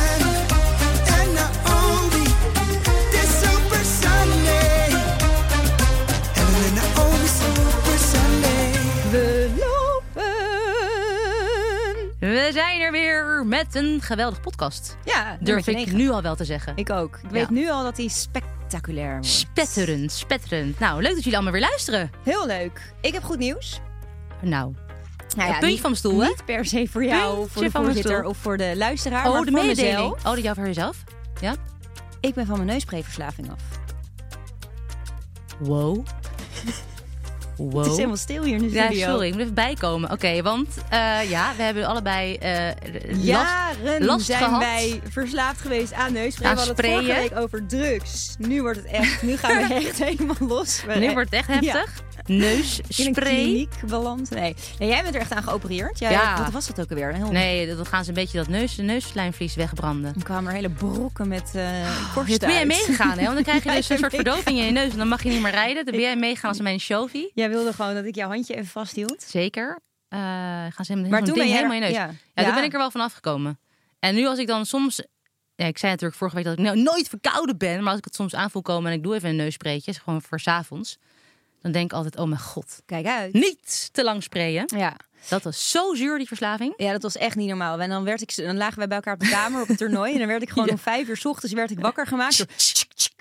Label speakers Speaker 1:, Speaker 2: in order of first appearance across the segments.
Speaker 1: and not only this Super Sunday, and then the only Super Sunday.
Speaker 2: We lopen.
Speaker 3: We zijn er weer met een geweldige podcast.
Speaker 2: Ja,
Speaker 3: Durf
Speaker 2: nummertje
Speaker 3: ik
Speaker 2: negen.
Speaker 3: nu al wel te zeggen.
Speaker 2: Ik ook. Ik weet nu al dat hij spectaculair wordt.
Speaker 3: Spetterend, spetterend. Nou, leuk dat jullie allemaal weer luisteren.
Speaker 2: Heel leuk. Ik heb goed nieuws.
Speaker 3: Nou,
Speaker 2: Nou
Speaker 3: Een puntje
Speaker 2: niet-
Speaker 3: van mijn stoel, hè?
Speaker 2: Niet per se voor jou,
Speaker 3: Puntje
Speaker 2: voor de
Speaker 3: van mijn
Speaker 2: voorzitter
Speaker 3: stoel.
Speaker 2: of voor de luisteraar,
Speaker 3: oh,
Speaker 2: maar
Speaker 3: de
Speaker 2: voor
Speaker 3: mededeling.
Speaker 2: mezelf.
Speaker 3: Oh, die jou voor jezelf? Ja?
Speaker 2: Ik ben van mijn neuspreeverslaving af.
Speaker 3: Wow. Wow.
Speaker 2: Het is helemaal stil hier in de
Speaker 3: Oh. ja,
Speaker 2: studio.
Speaker 3: sorry, ik moet even bijkomen. Oké, want eh, ja, we hebben allebei eh, last,
Speaker 2: Jaren
Speaker 3: last
Speaker 2: zijn
Speaker 3: gehad.
Speaker 2: wij verslaafd geweest aan neuspray.
Speaker 3: Aan
Speaker 2: We hadden het vorige
Speaker 3: sprayen.
Speaker 2: week over drugs. Nu wordt het echt. Nu gaan we echt helemaal los. We-
Speaker 3: Nu wordt het echt heftig.
Speaker 2: Ja, eh, in een
Speaker 3: Neusspray.
Speaker 2: kliniek beland. Nee. nee, jij bent er echt aan geopereerd. Jij,
Speaker 3: Ja.
Speaker 2: Wat was dat ook alweer? Een heel
Speaker 3: Nee, dan gaan ze een beetje dat neus, neuslijnvlies wegbranden.
Speaker 2: Er kwamen er hele brokken met eh korst
Speaker 3: Dus ben jij
Speaker 2: uit.
Speaker 3: meegegaan, hè? Want dan krijg je
Speaker 2: Ja,
Speaker 3: dus
Speaker 2: ik
Speaker 3: een
Speaker 2: ben
Speaker 3: soort verdoving in je neus en dan mag je niet meer rijden. Dan ben jij meegegaan als mijn chauffeur.
Speaker 2: Jij wilde gewoon dat ik jouw handje even vasthield.
Speaker 3: Zeker. Eh, gaan ze helemaal,
Speaker 2: Maar
Speaker 3: zo'n
Speaker 2: toen ben
Speaker 3: ding
Speaker 2: jij
Speaker 3: helemaal in
Speaker 2: er-
Speaker 3: je neus.
Speaker 2: ja.
Speaker 3: Ja,
Speaker 2: Ja.
Speaker 3: toen ben ik er wel van afgekomen. En nu als ik dan soms... Ja, ik zei natuurlijk vorige week dat ik nou nooit verkouden ben. Maar als ik het soms aanvoel komen en ik doe even een neuspreetje. is Gewoon voor 's avonds. Dan denk ik altijd, oh mijn god.
Speaker 2: Kijk uit.
Speaker 3: Niet te lang sprayen.
Speaker 2: Ja. Oh,
Speaker 3: Dat was zo zuur, die verslaving.
Speaker 2: ja, dat was echt niet normaal. En dan, werd ik, dan lagen wij bij elkaar op de kamer op het toernooi. En dan werd ik gewoon om vijf uur 's ochtends werd ik wakker gemaakt. door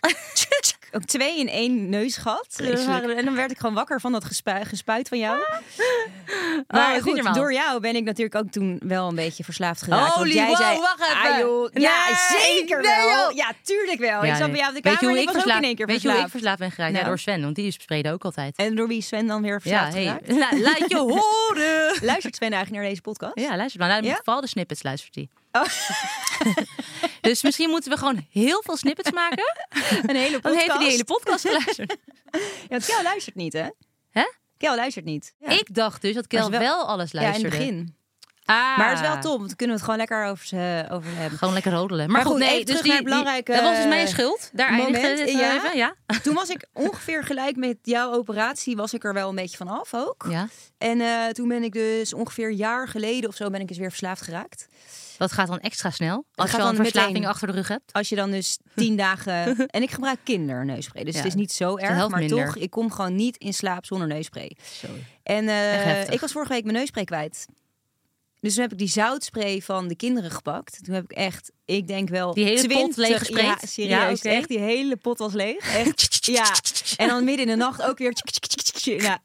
Speaker 2: Ook twee in één neusgat. Dat waren- En dan werd ik gewoon wakker van dat gespu- gespuit van jou.
Speaker 3: dat
Speaker 2: Maar
Speaker 3: is Oh, niet
Speaker 2: goed,
Speaker 3: normaal.
Speaker 2: door jou ben ik natuurlijk ook toen wel een beetje verslaafd geraakt. want
Speaker 3: Holy
Speaker 2: jij
Speaker 3: wow,
Speaker 2: zei,
Speaker 3: wacht even.
Speaker 2: "Ah, joh, ja,
Speaker 3: Nee,
Speaker 2: zeker
Speaker 3: nee,
Speaker 2: wel.
Speaker 3: joh."
Speaker 2: Ja, tuurlijk wel. ik
Speaker 3: Ja,
Speaker 2: zat
Speaker 3: nee.
Speaker 2: bij jou op de
Speaker 3: Weet
Speaker 2: kamer
Speaker 3: je
Speaker 2: en
Speaker 3: hoe
Speaker 2: ik
Speaker 3: ik
Speaker 2: was
Speaker 3: verslaafd-
Speaker 2: ook in één keer
Speaker 3: Weet je hoe ik
Speaker 2: verslaafd.
Speaker 3: verslaafd ben geraakt? Ja,
Speaker 2: Nou.
Speaker 3: door Sven, want die spreekt ook altijd.
Speaker 2: En door wie Sven dan weer
Speaker 3: ja,
Speaker 2: verslaafd
Speaker 3: hey,
Speaker 2: geraakt?
Speaker 3: la- laat je horen.
Speaker 2: Luistert Sven eigenlijk naar deze podcast?
Speaker 3: Ja, luister maar. Nou,
Speaker 2: Ja? Oh.
Speaker 3: Vooral de snippets luistert hij. dus misschien moeten we gewoon heel veel snippets maken.
Speaker 2: Een hele
Speaker 3: Dan
Speaker 2: podcast.
Speaker 3: heeft hij die hele podcast geluisterd.
Speaker 2: Ja, want Kel luistert niet, hè?
Speaker 3: Hè?
Speaker 2: Kel luistert niet. Ja.
Speaker 3: Ik dacht dus dat
Speaker 2: Maar ze
Speaker 3: Kel
Speaker 2: wel-
Speaker 3: wel, alles
Speaker 2: Ja, in
Speaker 3: luisterde.
Speaker 2: het begin.
Speaker 3: Ah.
Speaker 2: Maar het is wel top, want dan kunnen we het gewoon lekker over, ze, over hebben.
Speaker 3: Gewoon lekker rodelen. Maar,
Speaker 2: Maar
Speaker 3: goed,
Speaker 2: goed,
Speaker 3: nee,
Speaker 2: even
Speaker 3: dus
Speaker 2: terug
Speaker 3: die,
Speaker 2: naar het belangrijke,
Speaker 3: die- dat was dus
Speaker 2: eh,
Speaker 3: mijn schuld. Daar
Speaker 2: moment
Speaker 3: eindigde het
Speaker 2: in
Speaker 3: wel
Speaker 2: je-
Speaker 3: even. Ja.
Speaker 2: Toen was ik ongeveer gelijk met jouw operatie, was ik er wel een beetje van af ook.
Speaker 3: ja.
Speaker 2: En eh, toen ben ik dus ongeveer een jaar geleden of zo ben ik eens weer verslaafd geraakt.
Speaker 3: Dat gaat dan extra snel. Als
Speaker 2: gaat
Speaker 3: je al een
Speaker 2: dan
Speaker 3: verslaving
Speaker 2: meteen.
Speaker 3: achter de rug hebt.
Speaker 2: Als je dan dus tien dagen... En ik gebruik kinderneusspray, dus
Speaker 3: Ja,
Speaker 2: het is niet zo erg.
Speaker 3: helft
Speaker 2: Maar
Speaker 3: minder.
Speaker 2: toch, ik kom gewoon niet in slaap zonder neusspray.
Speaker 3: Sorry.
Speaker 2: En eh,
Speaker 3: Echt heftig.
Speaker 2: ik was vorige week mijn neusspray kwijt. Dus toen heb ik die zoutspray van de kinderen gepakt. Toen heb ik echt, ik denk wel...
Speaker 3: Die hele pot
Speaker 2: 20
Speaker 3: leeggesprayt?
Speaker 2: Ja,
Speaker 3: Ja,
Speaker 2: serieus.
Speaker 3: oké.
Speaker 2: Echt, die hele pot was leeg. Echt, ja. En dan midden in de nacht ook weer... Ja.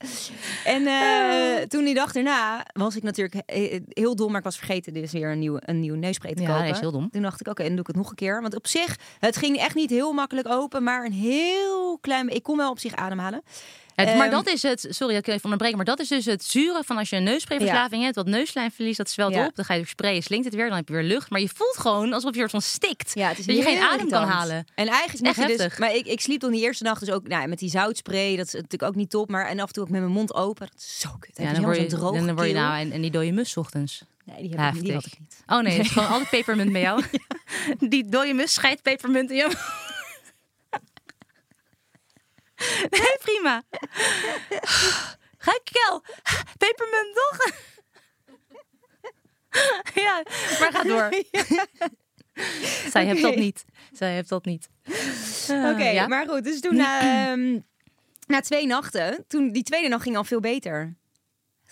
Speaker 2: En
Speaker 3: Oh.
Speaker 2: eh, toen die dag daarna was ik natuurlijk eh, heel dom. Maar ik was vergeten dus weer een nieuwe, een nieuwe neusspray te
Speaker 3: Ja,
Speaker 2: kopen.
Speaker 3: dat is heel dom.
Speaker 2: Toen dacht ik, oké, dan doe ik het nog een keer. Want op zich, het ging echt niet heel makkelijk open. Maar een heel klein... Ik kon wel op zich ademhalen.
Speaker 3: Het- maar
Speaker 2: Ehm,
Speaker 3: dat is het, sorry dat ik je even onderbreek, maar dat is dus het zure van als je een neusprayverslaving hebt, dat neuslijnverlies, dat zwelt
Speaker 2: Ja.
Speaker 3: op, dan ga je weer sprayen, slinkt het weer, dan heb je weer lucht. Maar je voelt gewoon alsof je soort van stikt.
Speaker 2: Ja, het is
Speaker 3: dat je geen
Speaker 2: heel
Speaker 3: adem kan
Speaker 2: irritant.
Speaker 3: halen.
Speaker 2: En eigenlijk moet
Speaker 3: Echt
Speaker 2: je dus-
Speaker 3: heftig.
Speaker 2: maar ik, ik sliep dan die eerste nacht dus ook nou, met die zoutspray. Dat is natuurlijk ook niet top. Maar en af en toe ook met mijn mond open. Dat is zo kut.
Speaker 3: Ja,
Speaker 2: dan word je droog.
Speaker 3: dan word je
Speaker 2: keel.
Speaker 3: nou en, en die dode mus 's ochtends.
Speaker 2: Nee, die, heb ik, die had
Speaker 3: Heftig.
Speaker 2: ik niet.
Speaker 3: Oh nee, het is gewoon altijd pepermunt bij jou. Die dode mus scheidt pepermunt in jou. Nee, prima. Ga ik kel. Pepermunt toch? Ja, maar ga door. Zij heeft dat
Speaker 2: Oké.
Speaker 3: niet. Zij heeft dat niet.
Speaker 2: Oké,
Speaker 3: Eh, ja.
Speaker 2: maar goed. Dus toen... ehm, Na twee nachten, toen, die tweede nacht ging al veel beter.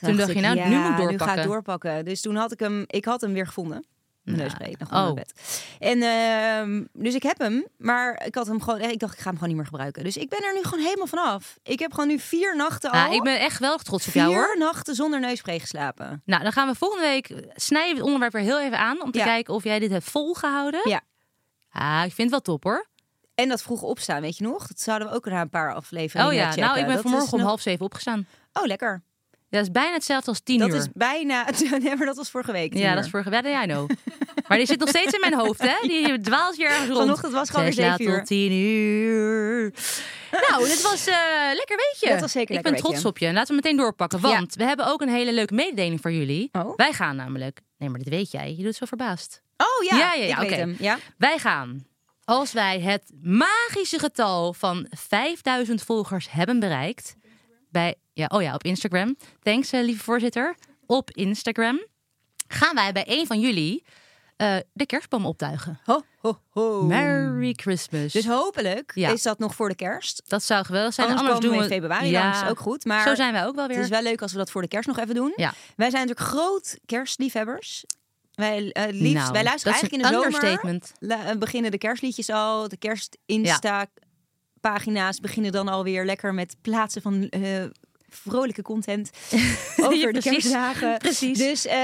Speaker 3: Toen dacht
Speaker 2: ik,
Speaker 3: je, nou,
Speaker 2: ja,
Speaker 3: nu moet ik
Speaker 2: Nu ga ik
Speaker 3: doorpakken.
Speaker 2: doorpakken. Dus toen had ik hem, ik had hem weer gevonden. Mijn neusbreed nog
Speaker 3: oh.
Speaker 2: onder mijn bed. En, ehm, dus ik heb hem, maar ik had hem gewoon, ik dacht, ik ga hem gewoon niet meer gebruiken. Dus ik ben er nu gewoon helemaal vanaf. Ik heb gewoon nu vier nachten al.
Speaker 3: Ah, ik ben echt wel trots op
Speaker 2: vier
Speaker 3: jou hoor.
Speaker 2: nachten zonder neusspray geslapen.
Speaker 3: Nou, dan gaan we volgende week snijden we het onderwerp weer heel even aan om te
Speaker 2: Ja.
Speaker 3: kijken of jij dit hebt volgehouden.
Speaker 2: Ja.
Speaker 3: Ah, ik vind het wel top hoor.
Speaker 2: En dat vroeg opstaan, weet je nog? Dat zouden we ook na een paar afleveringen
Speaker 3: Oh ja,
Speaker 2: checken.
Speaker 3: nou ik ben
Speaker 2: Dat is
Speaker 3: vanmorgen om
Speaker 2: nog-
Speaker 3: half zeven opgestaan.
Speaker 2: Oh, lekker.
Speaker 3: Dat is bijna hetzelfde als tien
Speaker 2: Dat
Speaker 3: uur.
Speaker 2: is bijna... Nee, maar dat was vorige week.
Speaker 3: Ja, dat is vorige week. Ja, I know. maar die zit nog steeds in mijn hoofd, hè? Die dwaalt hier ergens rond.
Speaker 2: Vanochtend was gewoon
Speaker 3: Zes
Speaker 2: weer
Speaker 3: laat
Speaker 2: zeven uur.
Speaker 3: tot tien uur. Nou, dit was eh, lekker weetje.
Speaker 2: Dat was zeker
Speaker 3: Ik
Speaker 2: lekker
Speaker 3: ben trots
Speaker 2: weetje.
Speaker 3: op je. Laten we meteen doorpakken.
Speaker 2: Ja.
Speaker 3: Want we hebben ook een hele leuke mededeling voor jullie.
Speaker 2: Oh.
Speaker 3: Wij gaan namelijk... Nee, maar dit weet jij. Je doet het zo verbaasd.
Speaker 2: Oh ja,
Speaker 3: Ja, ja, ja,
Speaker 2: ik weet
Speaker 3: oké.
Speaker 2: hem. Ja.
Speaker 3: Wij gaan, als wij het magische getal van 5000 volgers hebben bereikt... Bij, ja, oh ja, op Instagram. Thanks, eh, lieve voorzitter. Op Instagram gaan wij bij een van jullie eh, de kerstboom optuigen.
Speaker 2: Ho, ho, ho.
Speaker 3: Merry Christmas.
Speaker 2: Dus hopelijk
Speaker 3: Ja.
Speaker 2: is dat nog voor de kerst.
Speaker 3: dat zou geweldig zijn.
Speaker 2: Anders,
Speaker 3: Oh, Anders
Speaker 2: komen we
Speaker 3: doen
Speaker 2: in
Speaker 3: we
Speaker 2: februari
Speaker 3: ja,
Speaker 2: langs, ook goed. Maar
Speaker 3: Zo zijn wij ook wel weer.
Speaker 2: het is wel leuk als we dat voor de kerst nog even doen.
Speaker 3: Ja.
Speaker 2: Wij zijn natuurlijk groot kerstliefhebbers. Wij, eh, het liefst,
Speaker 3: Nou,
Speaker 2: wij luisteren
Speaker 3: dat is
Speaker 2: eigenlijk in
Speaker 3: een
Speaker 2: de zomer.
Speaker 3: understatement.
Speaker 2: la- eh, beginnen de kerstliedjes al, de kerst-insta-pagina's beginnen dan alweer lekker met plaatsen van eh, vrolijke content over
Speaker 3: Ja,
Speaker 2: de
Speaker 3: precies.
Speaker 2: kerstdagen.
Speaker 3: Precies.
Speaker 2: Dus eh,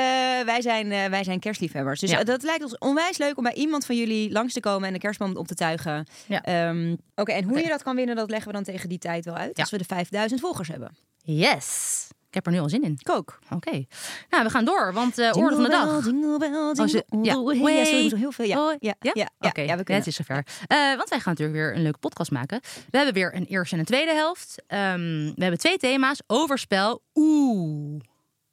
Speaker 2: wij, zijn, eh, wij zijn kerstliefhebbers. Dus
Speaker 3: Ja.
Speaker 2: eh, dat lijkt ons onwijs leuk om bij iemand van jullie langs te komen en de kerstboom op te tuigen.
Speaker 3: Ja.
Speaker 2: Ehm, Oké, en hoe
Speaker 3: Oké.
Speaker 2: je dat kan winnen, dat leggen we dan tegen die tijd wel uit.
Speaker 3: Ja. Oh,
Speaker 2: Als we de 5000 volgers hebben.
Speaker 3: Yes. Ik heb er nu al zin in.
Speaker 2: Ik ook.
Speaker 3: Oké. Nou, we gaan door, want eh orde van
Speaker 2: Jingle
Speaker 3: de
Speaker 2: bell,
Speaker 3: dag.
Speaker 2: Jingle bell,
Speaker 3: Oh, ze-
Speaker 2: jingle
Speaker 3: ja.
Speaker 2: all the way. Ja, sorry, we doen heel veel. Ja,
Speaker 3: Hoi.
Speaker 2: ja,
Speaker 3: ja?
Speaker 2: ja,
Speaker 3: Oké,
Speaker 2: ja, ja, we
Speaker 3: ja,
Speaker 2: kunnen. Oh,
Speaker 3: het is zover. Eh, want wij gaan natuurlijk weer een leuke podcast maken. We hebben weer een eerste en een tweede helft. Ehm, we hebben twee thema's. Overspel. Oeh.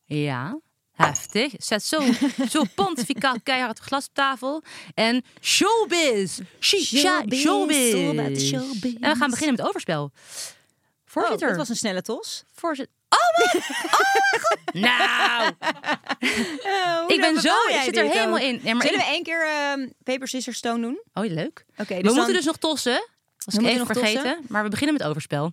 Speaker 3: Ja. Heftig. Zet zo, zo pontificaal keihard glas op tafel. En showbiz. She,
Speaker 2: Showbiz,
Speaker 3: showbiz. showbiz.
Speaker 2: all about the showbiz.
Speaker 3: En we gaan beginnen met overspel.
Speaker 2: Oh,
Speaker 3: Voorzitter.
Speaker 2: dat was een snelle tos.
Speaker 3: Voorzitter. Oh mijn, oh mijn god. Nou.
Speaker 2: Oh,
Speaker 3: ik ben zo, ik zit er helemaal in. Nee, maar
Speaker 2: Zullen
Speaker 3: ik-
Speaker 2: we één keer ehm paper, scissors, stone doen?
Speaker 3: Oh, leuk.
Speaker 2: Oké, dus
Speaker 3: we moeten
Speaker 2: dan-
Speaker 3: dus nog tossen. Was
Speaker 2: We
Speaker 3: ik
Speaker 2: moeten
Speaker 3: even
Speaker 2: nog
Speaker 3: vergeten.
Speaker 2: tossen.
Speaker 3: Maar we beginnen met overspel.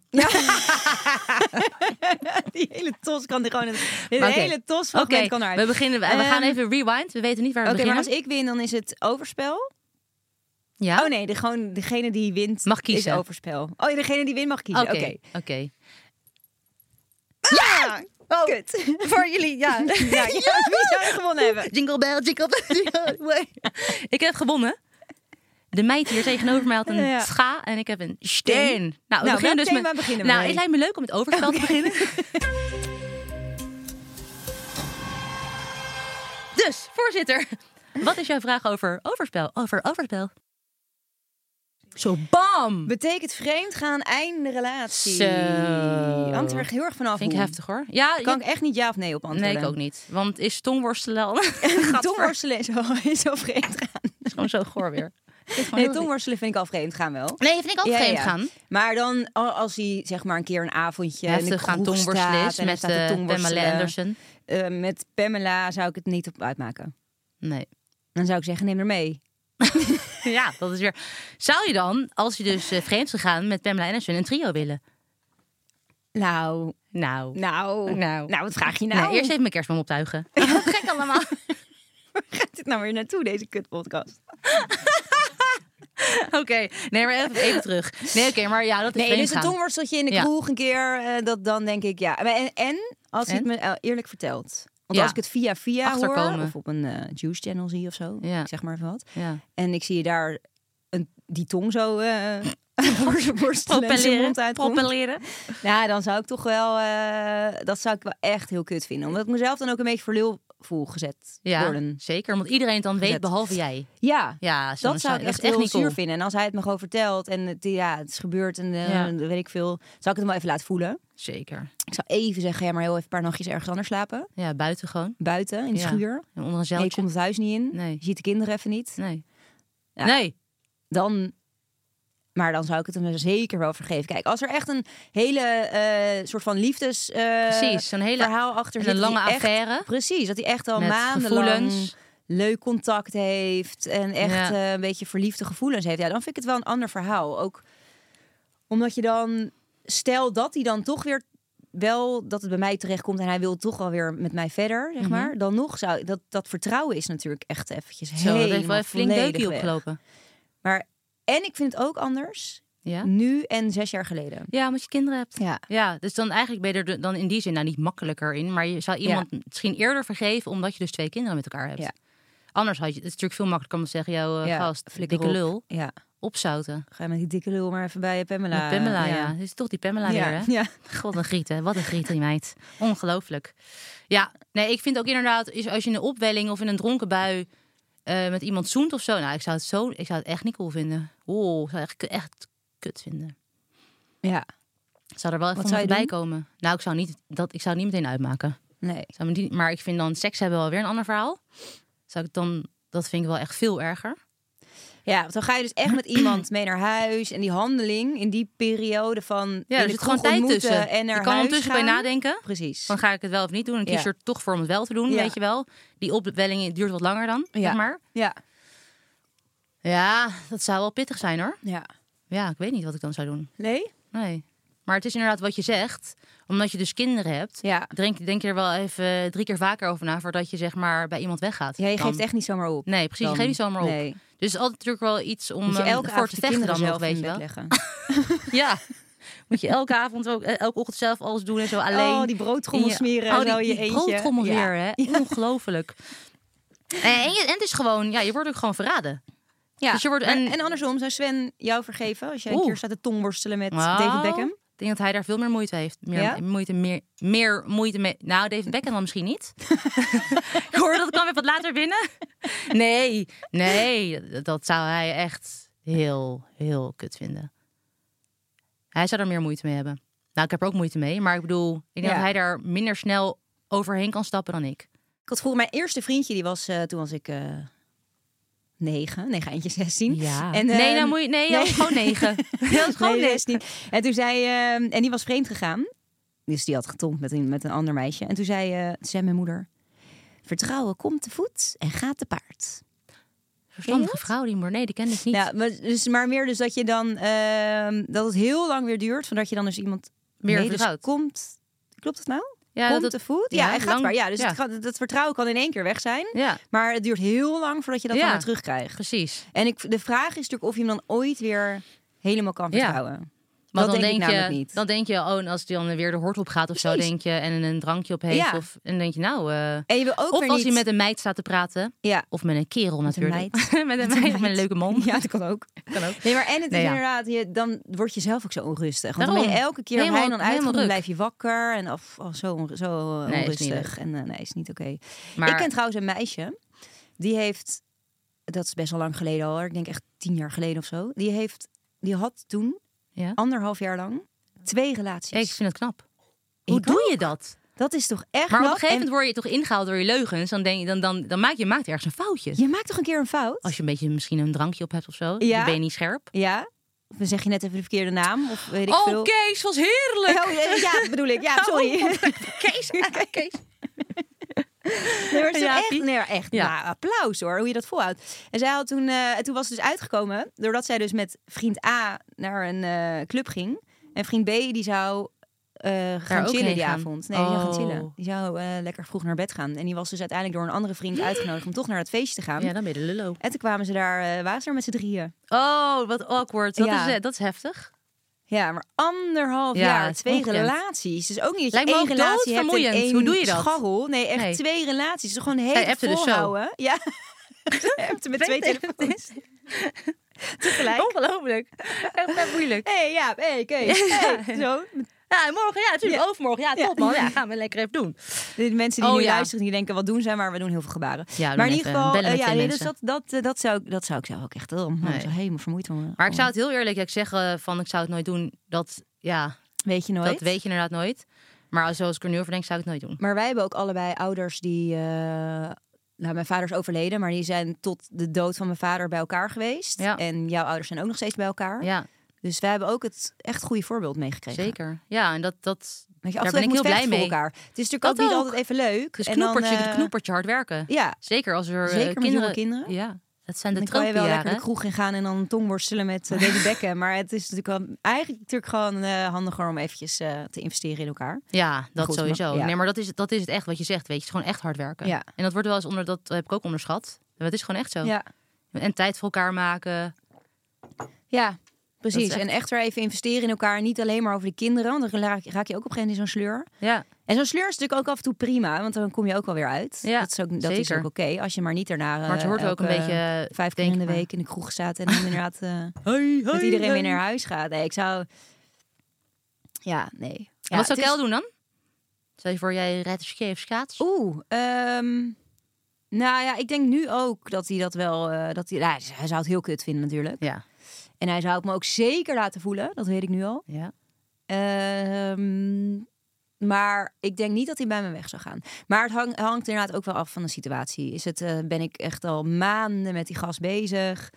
Speaker 2: Die hele tos kan er gewoon... Een,
Speaker 3: Oké.
Speaker 2: hele tos van
Speaker 3: Oké,
Speaker 2: kan eruit.
Speaker 3: we beginnen. We, we
Speaker 2: Ehm,
Speaker 3: gaan even rewind. We weten niet waar we
Speaker 2: Oké, maar
Speaker 3: beginnen.
Speaker 2: als ik win, dan is het overspel.
Speaker 3: Ja.
Speaker 2: Oh nee, de, gewoon degene die wint
Speaker 3: Mag kiezen.
Speaker 2: is overspel. Oh ja, degene die wint mag kiezen. Oké.
Speaker 3: Oké. Oké.
Speaker 2: Ja! Oh. Kut.
Speaker 3: Voor jullie, ja.
Speaker 2: Ja, ja, Wie zou er gewonnen hebben?
Speaker 3: Jingle bell, jingle bell. jingle bell. ik heb gewonnen. De meid hier tegenover mij had een
Speaker 2: Ja.
Speaker 3: scha en ik heb een steen. Nou, we
Speaker 2: welk
Speaker 3: beginnen dus
Speaker 2: thema
Speaker 3: met...
Speaker 2: beginnen we
Speaker 3: nou,
Speaker 2: mee?
Speaker 3: het lijkt me leuk om met overspel te beginnen. dus, voorzitter. Wat is jouw vraag over overspel? Over overspel? Zo bam!
Speaker 2: Betekent vreemd gaan einde relatie?
Speaker 3: Zo.
Speaker 2: Hangt er echt heel erg vanaf
Speaker 3: Vind ik
Speaker 2: hoe.
Speaker 3: heftig hoor. Ja,
Speaker 2: Kan
Speaker 3: je-
Speaker 2: ik echt niet ja of nee op antwoorden.
Speaker 3: Nee, ik ook niet. Want is tongworstelen al...
Speaker 2: Tongworstelen is wel- is al
Speaker 3: Oh,
Speaker 2: vreemd gaan.
Speaker 3: is gewoon zo goor weer.
Speaker 2: Nee, tongworstelen vind ik al vreemd gaan wel.
Speaker 3: Nee, vind ik altijd vreemd
Speaker 2: ja.
Speaker 3: gaan.
Speaker 2: Maar dan al- als hij zeg maar een keer een avondje in de
Speaker 3: Heftig gaan
Speaker 2: kroeg
Speaker 3: tongworstelen
Speaker 2: staat
Speaker 3: is
Speaker 2: en hij
Speaker 3: met
Speaker 2: staat te
Speaker 3: eh,
Speaker 2: tongworstelen.
Speaker 3: Pamela Anderson.
Speaker 2: Eh, met Pamela zou ik het niet op uitmaken.
Speaker 3: Nee.
Speaker 2: Dan zou ik zeggen neem er mee.
Speaker 3: Ja, dat is weer... Zou je dan, als je dus eh, vreemd is gegaan met Pamela Anderson, een trio willen?
Speaker 2: Nou,
Speaker 3: Nou.
Speaker 2: nou,
Speaker 3: Nou.
Speaker 2: nou, wat vraag je nou?
Speaker 3: Nee, eerst even mijn kerstboom optuigen. Gek allemaal.
Speaker 2: Waar gaat dit nou weer naartoe deze kutpodcast?
Speaker 3: Oké, nee, maar even, even terug. Nee, oké, maar ja, dat is
Speaker 2: Nee,
Speaker 3: vreemd
Speaker 2: dus een
Speaker 3: gaan.
Speaker 2: tongworsteltje in de
Speaker 3: Ja.
Speaker 2: kroeg een keer, eh, dat dan denk ik ja. Maar En, en als hij
Speaker 3: En?
Speaker 2: het me eh, eerlijk vertelt. Want
Speaker 3: Ja.
Speaker 2: als ik het via via
Speaker 3: Achterkomen.
Speaker 2: hoor, of op een eh juice channel zie of zo,
Speaker 3: Ja.
Speaker 2: ik zeg maar even wat.
Speaker 3: Ja.
Speaker 2: En ik zie je daar een, die tong zo eh voor zijn worstelen en zijn mond
Speaker 3: Propelleren.
Speaker 2: uitkomt.
Speaker 3: Propelleren.
Speaker 2: Nou, dan zou ik toch wel... eh, dat zou ik wel echt heel kut vinden. Omdat ik mezelf dan ook een beetje voor lul voel gezet
Speaker 3: Ja,
Speaker 2: worden.
Speaker 3: zeker. Want iedereen het dan weet,
Speaker 2: Gezet.
Speaker 3: behalve jij.
Speaker 2: Ja,
Speaker 3: Ja, zo-
Speaker 2: dat zou ik
Speaker 3: dat is
Speaker 2: echt,
Speaker 3: echt
Speaker 2: heel
Speaker 3: niet
Speaker 2: zuur
Speaker 3: cool.
Speaker 2: vinden. En als hij het me gewoon vertelt en het, ja, het is gebeurd en eh,
Speaker 3: Ja.
Speaker 2: weet ik veel... zou ik het hem wel even laten voelen.
Speaker 3: Zeker.
Speaker 2: Ik zou even zeggen, ja, maar heel even een paar nachtjes ergens anders slapen.
Speaker 3: Ja, buiten gewoon.
Speaker 2: Buiten, in de
Speaker 3: Ja.
Speaker 2: schuur.
Speaker 3: En onder een
Speaker 2: Nee, je
Speaker 3: zeiltje.
Speaker 2: komt het huis niet in.
Speaker 3: Nee.
Speaker 2: Je ziet de kinderen even niet.
Speaker 3: Nee.
Speaker 2: Ja.
Speaker 3: Nee.
Speaker 2: dan. Maar dan zou ik het hem zeker wel vergeven. Kijk, als er echt een hele eh, soort van liefdes. eh,
Speaker 3: Precies, zo'n hele-
Speaker 2: verhaal achter
Speaker 3: en
Speaker 2: zit.
Speaker 3: een
Speaker 2: dat
Speaker 3: lange
Speaker 2: hij echt-
Speaker 3: affaire.
Speaker 2: precies, dat hij echt al
Speaker 3: Met
Speaker 2: maandenlang
Speaker 3: gevoelens.
Speaker 2: leuk contact heeft. En echt
Speaker 3: Ja.
Speaker 2: eh, een beetje verliefde gevoelens heeft. Ja, dan vind ik het wel een ander verhaal. Ook omdat je dan stel dat hij dan toch weer wel dat het bij mij terechtkomt en hij wil toch wel weer met mij verder,
Speaker 3: Mhm.
Speaker 2: zeg maar. Dan nog zou dat dat vertrouwen is natuurlijk echt eventjes
Speaker 3: Zo, dat heeft wel
Speaker 2: helemaal
Speaker 3: een flink
Speaker 2: volledig
Speaker 3: deukje
Speaker 2: weg.
Speaker 3: opgelopen.
Speaker 2: Maar en ik vind het ook anders
Speaker 3: Ja?
Speaker 2: nu en zes jaar geleden.
Speaker 3: Ja, omdat je kinderen hebt.
Speaker 2: Ja.
Speaker 3: Ja, dus dan eigenlijk ben je er dan in die zin nou niet makkelijker in. Maar je zou iemand misschien eerder vergeven omdat je dus twee kinderen met elkaar hebt.
Speaker 2: Ja.
Speaker 3: Anders had je het is natuurlijk veel makkelijker om te zeggen, jouw eh,
Speaker 2: Ja,
Speaker 3: gast,
Speaker 2: flikker
Speaker 3: dikke
Speaker 2: op.
Speaker 3: lul,
Speaker 2: Ja,
Speaker 3: opzouten.
Speaker 2: ga je met die dikke lul maar even bij Pamela. eh,
Speaker 3: Met Pamela, ja.
Speaker 2: ja.
Speaker 3: Dus toch die Pamela
Speaker 2: Ja,
Speaker 3: weer, hè?
Speaker 2: ja.
Speaker 3: God, een griet, hè? Wat een griet, die meid. Ongelooflijk. Ja, nee, ik vind ook inderdaad, is als je in een opwelling of in een dronken bui eh, met iemand zoent of zo. Nou, ik zou het, zo, ik zou het echt niet cool vinden. Oh, ik zou het echt, echt kut vinden.
Speaker 2: Ja,
Speaker 3: Ik zou er wel even
Speaker 2: Wat
Speaker 3: van
Speaker 2: zou je
Speaker 3: bij komen. Nou, ik zou, niet, dat, ik zou het niet meteen uitmaken.
Speaker 2: nee.
Speaker 3: Zou me niet- maar ik vind dan seks hebben wel weer een ander verhaal. Zou ik dan, dat vind ik wel echt veel erger.
Speaker 2: Ja, want dan ga je dus echt met iemand mee naar huis. En die handeling in die periode van. in de
Speaker 3: er zit
Speaker 2: dus kroeg
Speaker 3: gewoon tijd
Speaker 2: ontmoeten
Speaker 3: tussen.
Speaker 2: En naar
Speaker 3: je kan
Speaker 2: huis
Speaker 3: ondertussen bij
Speaker 2: gaan.
Speaker 3: nadenken.
Speaker 2: Precies.
Speaker 3: Van ga ik het wel of niet doen? En kies
Speaker 2: Ja.
Speaker 3: je er toch voor om het wel te doen,
Speaker 2: Ja.
Speaker 3: weet je wel. Die opwelling duurt wat langer dan,
Speaker 2: Ja.
Speaker 3: zeg maar.
Speaker 2: Ja,
Speaker 3: Ja, dat zou wel pittig zijn hoor.
Speaker 2: ja.
Speaker 3: Ja, ik weet niet wat ik dan zou doen.
Speaker 2: Nee?
Speaker 3: Nee. Maar het is inderdaad wat je zegt. Omdat je dus kinderen hebt,
Speaker 2: Ja.
Speaker 3: denk, denk je er wel even drie keer vaker over na voordat je zeg maar bij iemand weggaat.
Speaker 2: Ja, je
Speaker 3: Dan.
Speaker 2: geeft echt niet zomaar op.
Speaker 3: Nee, precies.
Speaker 2: Dan.
Speaker 3: Je geeft niet zomaar op.
Speaker 2: Nee.
Speaker 3: Dus het is altijd natuurlijk wel iets om
Speaker 2: Moet je
Speaker 3: eh,
Speaker 2: elke
Speaker 3: voor
Speaker 2: avond
Speaker 3: te
Speaker 2: je
Speaker 3: vechten
Speaker 2: kinderen
Speaker 3: dan nog,
Speaker 2: zelf
Speaker 3: weet
Speaker 2: in
Speaker 3: je
Speaker 2: bed
Speaker 3: wel.
Speaker 2: leggen.
Speaker 3: Ja. Moet je elke avond ook, eh, elke ochtend zelf alles doen en zo alleen.
Speaker 2: Oh, die broodtrommel
Speaker 3: In je-
Speaker 2: smeren en
Speaker 3: oh, die,
Speaker 2: zo in je
Speaker 3: die
Speaker 2: eentje.
Speaker 3: broodtrommel
Speaker 2: Ja.
Speaker 3: weer, hè? Ongelooflijk. Eh, en, je- en het is gewoon, ja, je wordt ook gewoon verraden.
Speaker 2: Ja.
Speaker 3: Dus je wordt-
Speaker 2: Maar-
Speaker 3: en-
Speaker 2: en... andersom, zou Sven jou vergeven als jij een
Speaker 3: Oeh.
Speaker 2: keer staat te tongworstelen met
Speaker 3: Nou,
Speaker 2: David Beckham?
Speaker 3: Ik denk dat hij daar veel meer moeite heeft. Meer,
Speaker 2: Ja?
Speaker 3: moeite, meer, meer moeite mee. Nou, David Beckham dan misschien niet. ik hoorde dat kwam weer wat later binnen. Nee, nee, dat- dat zou hij echt heel, heel kut vinden. Hij zou er meer moeite mee hebben. Nou, ik heb er ook moeite mee, maar ik bedoel, ik denk
Speaker 2: Ja.
Speaker 3: dat hij daar minder snel overheen kan stappen dan ik.
Speaker 2: Ik had vroeger mijn eerste vriendje, die was eh, toen was ik eh, negen, negen eindje zestien.
Speaker 3: En,
Speaker 2: eh,
Speaker 3: nee, nou moet je, nee, dat is gewoon negen. Dat is gewoon
Speaker 2: Nee,
Speaker 3: negen.
Speaker 2: dat is niet. En toen zei ehm, en die was vreemd gegaan. Dus die had getongd met een, met een ander meisje. En toen zei, eh, toen zei mijn moeder: Vertrouwen komt te voet en gaat te paard.
Speaker 3: Verstandige vrouw, die moeder. Nee, die ken ik niet.
Speaker 2: Ja, maar, dus, maar meer dus dat je dan ehm, dat het heel lang weer duurt voordat je dan dus iemand
Speaker 3: Weer
Speaker 2: nee, dus
Speaker 3: vertrouwt.
Speaker 2: komt. Klopt het nou?
Speaker 3: Ja,
Speaker 2: komt
Speaker 3: dat-
Speaker 2: te voet?
Speaker 3: ja,
Speaker 2: Ja, en gaat
Speaker 3: lang-
Speaker 2: maar. Ja, dus
Speaker 3: ja.
Speaker 2: Het, gaat- dat vertrouwen kan in één keer weg zijn.
Speaker 3: Ja.
Speaker 2: Maar het duurt heel lang voordat je dat
Speaker 3: Ja.
Speaker 2: dan weer terugkrijgt.
Speaker 3: precies.
Speaker 2: En ik, de vraag is natuurlijk of je hem dan ooit weer helemaal kan
Speaker 3: Ja.
Speaker 2: vertrouwen.
Speaker 3: Maar
Speaker 2: dat
Speaker 3: dan
Speaker 2: denk, ik
Speaker 3: je,
Speaker 2: namelijk niet.
Speaker 3: dan denk je, oh, en als die dan weer de hort op gaat of zo,
Speaker 2: Precies.
Speaker 3: denk je, en een drankje op heeft,
Speaker 2: Ja.
Speaker 3: of en dan denk je, nou, eh,
Speaker 2: En je wil ook
Speaker 3: of
Speaker 2: weer
Speaker 3: als
Speaker 2: niet...
Speaker 3: hij met een meid staat te praten,
Speaker 2: Ja.
Speaker 3: of met een kerel
Speaker 2: een
Speaker 3: natuurlijk,
Speaker 2: meid.
Speaker 3: met een meid,
Speaker 2: een
Speaker 3: of met een
Speaker 2: meid.
Speaker 3: leuke man.
Speaker 2: Ja, dat kan ook.
Speaker 3: Kan ook.
Speaker 2: Nee, maar en het
Speaker 3: Nee,
Speaker 2: is
Speaker 3: ja.
Speaker 2: inderdaad, je, dan word je zelf ook zo onrustig. Want dan
Speaker 3: Daarom.
Speaker 2: ben je elke keer
Speaker 3: Helemaal-
Speaker 2: helemaal, hij dan
Speaker 3: helemaal
Speaker 2: uitgaat, dan
Speaker 3: druk.
Speaker 2: blijf je wakker. En of, of zo, onru- zo eh,
Speaker 3: Nee, is niet
Speaker 2: onrustig. en eh, nee, is niet oké.
Speaker 3: Maar-
Speaker 2: Ik ken trouwens een meisje, die heeft, dat is best wel lang geleden al, hoor, ik denk echt tien jaar geleden of zo. Die, heeft, die had toen
Speaker 3: Ja.
Speaker 2: anderhalf jaar lang twee
Speaker 3: Ja, ik
Speaker 2: relaties.
Speaker 3: vind het knap. Hoe
Speaker 2: Ik
Speaker 3: doe je dat?
Speaker 2: dat is toch echt
Speaker 3: Maar op
Speaker 2: knap?
Speaker 3: een gegeven moment
Speaker 2: En
Speaker 3: word je toch ingehaald door je leugens, dan, denk je, dan, dan, dan maak je maakt ergens een foutje.
Speaker 2: Je maakt toch een keer een fout?
Speaker 3: Als je een beetje misschien een drankje op hebt of zo,
Speaker 2: Ja.
Speaker 3: dan ben je niet scherp.
Speaker 2: Ja? Of dan zeg je net even de verkeerde naam? Of weet ik
Speaker 3: Oh,
Speaker 2: veel.
Speaker 3: Kees, was heerlijk!
Speaker 2: Oh, ja, ja, bedoel ik. Ja, sorry.
Speaker 3: Kees, Kees.
Speaker 2: Nee, maar het is
Speaker 3: Ja,
Speaker 2: toch echt,
Speaker 3: Piet.
Speaker 2: nee, maar echt
Speaker 3: Ja.
Speaker 2: nou, applaus hoor, hoe je dat volhoudt. En zij had toen, eh, toen was het dus uitgekomen, doordat zij dus met vriend A naar een eh, club ging. En vriend B die zou eh, gaan
Speaker 3: ook
Speaker 2: chillen
Speaker 3: heen
Speaker 2: die
Speaker 3: gaan.
Speaker 2: avond. Nee, die zou gaan
Speaker 3: Oh.
Speaker 2: chillen. Die zou eh, lekker vroeg naar bed gaan. En die was dus uiteindelijk door een andere vriend uitgenodigd om toch naar het feestje te gaan.
Speaker 3: Ja, dan ben je de lullo.
Speaker 2: En toen kwamen ze daar, eh waren ze er met z'n drieën.
Speaker 3: Oh, wat awkward. Dat,
Speaker 2: Ja.
Speaker 3: is, eh, dat is heftig.
Speaker 2: Ja, maar anderhalf
Speaker 3: Ja,
Speaker 2: jaar,
Speaker 3: het is
Speaker 2: twee
Speaker 3: ongekend.
Speaker 2: relaties. Dus ook niet dat
Speaker 3: Lijkt
Speaker 2: je
Speaker 3: me
Speaker 2: één
Speaker 3: ook
Speaker 2: relatie hebt en
Speaker 3: doodvermoeiend.
Speaker 2: één
Speaker 3: Hoe doe je dat?
Speaker 2: scharrel. Nee, echt
Speaker 3: Nee.
Speaker 2: twee relaties. Dus gewoon
Speaker 3: Hij
Speaker 2: heel
Speaker 3: appte dus zo.
Speaker 2: volhouden. Ja, Ze appte met twee telefoons. Tegelijk.
Speaker 3: Ongelooflijk. Echt echt moeilijk.
Speaker 2: hey, Jaap, hey, Kees. Hey, zo.
Speaker 3: Ja, en morgen, ja, natuurlijk.
Speaker 2: Ja.
Speaker 3: Overmorgen, ja, top man. Ja, gaan we lekker even doen.
Speaker 2: De mensen die
Speaker 3: Oh,
Speaker 2: nu
Speaker 3: ja.
Speaker 2: luisteren, die denken, wat doen zij? Maar we doen heel veel gebaren.
Speaker 3: Ja,
Speaker 2: maar
Speaker 3: we
Speaker 2: in
Speaker 3: doen
Speaker 2: ieder
Speaker 3: even
Speaker 2: geval,
Speaker 3: bellen
Speaker 2: eh,
Speaker 3: met
Speaker 2: ja,
Speaker 3: die
Speaker 2: nee, dus
Speaker 3: mensen.
Speaker 2: dat, dat, eh, dat, zou, ik- dat zou ik zelf ook echt oh, man,
Speaker 3: Nee.
Speaker 2: zo helemaal vermoeid worden.
Speaker 3: Maar ik zou het heel eerlijk ik zeggen eh, van ik zou het nooit doen. Dat, ja,
Speaker 2: Weet je nooit.
Speaker 3: dat weet je inderdaad nooit. Maar als- zoals ik er nu over denk, zou ik het nooit doen.
Speaker 2: Maar wij hebben ook allebei ouders die. eh, nou, mijn vader is overleden, maar die zijn tot de dood van mijn vader bij elkaar geweest.
Speaker 3: Ja.
Speaker 2: En jouw ouders zijn ook nog steeds bij elkaar.
Speaker 3: Ja,
Speaker 2: Dus wij hebben ook het echt goede voorbeeld meegekregen.
Speaker 3: zeker. Ja, en dat, dat
Speaker 2: Dat je af
Speaker 3: daar
Speaker 2: en
Speaker 3: ben
Speaker 2: toe
Speaker 3: ik
Speaker 2: moet
Speaker 3: heel blij
Speaker 2: vechten voor
Speaker 3: mee.
Speaker 2: elkaar. Het is natuurlijk
Speaker 3: Dat
Speaker 2: ook niet
Speaker 3: ook.
Speaker 2: altijd even leuk.
Speaker 3: Dus
Speaker 2: En dan,
Speaker 3: knoepertje,
Speaker 2: eh,
Speaker 3: knoepertje hard werken.
Speaker 2: Ja,
Speaker 3: Zeker als er eh,
Speaker 2: Zeker met jonge
Speaker 3: kinderen,
Speaker 2: kinderen.
Speaker 3: Ja, het Het zijn de
Speaker 2: Dan kan je wel lekker de
Speaker 3: tropenjaren.
Speaker 2: kroeg in gaan en dan tongworstelen met eh, David Beckham. Maar het is natuurlijk wel, eigenlijk natuurlijk gewoon eh, handiger om eventjes eh, te investeren in elkaar.
Speaker 3: Ja, dat
Speaker 2: Goed, maar-
Speaker 3: sowieso.
Speaker 2: ja.
Speaker 3: Nee, maar dat is, het- dat is het echt wat je zegt, weet je. Het is gewoon echt hard werken.
Speaker 2: Ja.
Speaker 3: En dat wordt wel eens onder, dat heb ik ook onderschat. Maar het is gewoon echt zo.
Speaker 2: Ja,
Speaker 3: En tijd voor elkaar maken.
Speaker 2: ja
Speaker 3: Dat
Speaker 2: precies.
Speaker 3: is echt-
Speaker 2: En echt er even investeren in elkaar. Niet alleen maar over de kinderen, want dan raak, raak je ook op een gegeven moment in zo'n sleur.
Speaker 3: Ja,
Speaker 2: En zo'n sleur is natuurlijk ook af en toe prima, want dan kom je ook alweer uit.
Speaker 3: Ja,
Speaker 2: dat is ook, dat is
Speaker 3: zeker.
Speaker 2: ook oké, als je maar niet daarna... eh,
Speaker 3: maar het hoort ook een
Speaker 2: elke
Speaker 3: beetje... eh,
Speaker 2: Vijf keer in de
Speaker 3: denk ik,
Speaker 2: week in de kroeg staat en dan inderdaad... eh,
Speaker 3: Hoi, hoi,
Speaker 2: dat iedereen
Speaker 3: hoi.
Speaker 2: weer naar huis gaat. Nee, ik zou... Ja, nee. Ja,
Speaker 3: Wat zou
Speaker 2: het is-
Speaker 3: Kel doen dan? Stel je voor, jij rijdt een ski of schaats?
Speaker 2: Oeh, ehm, nou ja, ik denk nu ook dat hij dat wel... eh, dat hij, nou, hij zou het heel kut vinden natuurlijk.
Speaker 3: Ja.
Speaker 2: En hij zou het me ook zeker laten voelen, dat weet ik nu al.
Speaker 3: ja.
Speaker 2: Ehm, maar ik denk niet dat hij bij me weg zou gaan. Maar het hang- hangt inderdaad ook wel af van de situatie. Is het, eh, ben ik echt al maanden met die gast bezig?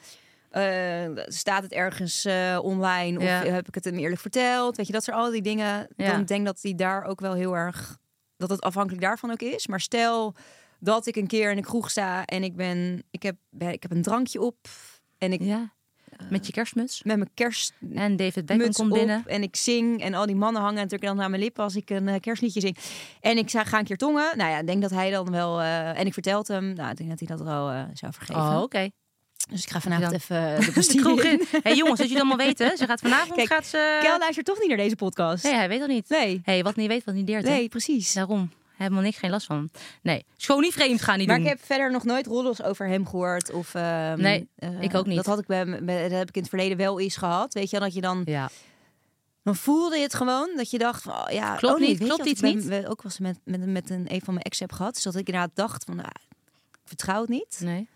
Speaker 2: Eh, staat het ergens eh, online? Of
Speaker 3: Ja.
Speaker 2: heb ik het hem eerlijk verteld? Weet je, dat zijn al die dingen.
Speaker 3: Ja.
Speaker 2: Dan denk ik dat hij daar ook wel heel erg... Dat het afhankelijk daarvan ook is. Maar stel dat ik een keer in de kroeg sta en ik, ben, ik, heb, ben- ik heb een drankje op. En ik
Speaker 3: ja. Met je kerstmuts.
Speaker 2: met mijn kerst
Speaker 3: En David Beckham
Speaker 2: muts
Speaker 3: komt
Speaker 2: op
Speaker 3: binnen.
Speaker 2: en ik zing. En al die mannen hangen natuurlijk dan aan mijn lippen als ik een eh, kerstliedje zing. En ik zei, ga een keer tongen. Nou ja, ik denk dat hij dan wel... eh, en ik vertel het hem. Nou, ik denk dat hij dat wel eh, zou vergeven.
Speaker 3: Oh, oké.
Speaker 2: Dus ik ga vanavond
Speaker 3: Dan-
Speaker 2: even eh, de
Speaker 3: De
Speaker 2: Bastille
Speaker 3: kroeg
Speaker 2: in.
Speaker 3: in. hey, jongens, dat jullie allemaal weten. Ze gaat vanavond...
Speaker 2: Kijk,
Speaker 3: gaat ze...
Speaker 2: Kel luistert toch niet naar deze podcast.
Speaker 3: Nee, hij weet dat niet.
Speaker 2: Nee.
Speaker 3: hey, wat niet weet, wat niet deert. hè?
Speaker 2: Nee, precies.
Speaker 3: Daarom. Helemaal niks, geen last van. Nee. Schoon niet vreemd gaan niet
Speaker 2: maar
Speaker 3: doen.
Speaker 2: ik heb verder nog nooit roddels over hem gehoord. Of, ehm,
Speaker 3: Nee,
Speaker 2: eh,
Speaker 3: ik ook niet.
Speaker 2: Dat, had ik bij, bij- dat heb ik in het verleden wel eens gehad. Weet je, wel, dat je dan...
Speaker 3: Ja.
Speaker 2: Dan voelde je het gewoon dat je dacht, van, oh, ja,
Speaker 3: Klopt
Speaker 2: oh nee,
Speaker 3: niet,
Speaker 2: weet je
Speaker 3: klopt
Speaker 2: wat ik
Speaker 3: iets
Speaker 2: ben-
Speaker 3: niet?
Speaker 2: we- ook was met, met, met een, een van mijn ex heb gehad, dus dat ik inderdaad dacht van, nou, ik vertrouw het niet.
Speaker 3: Nee.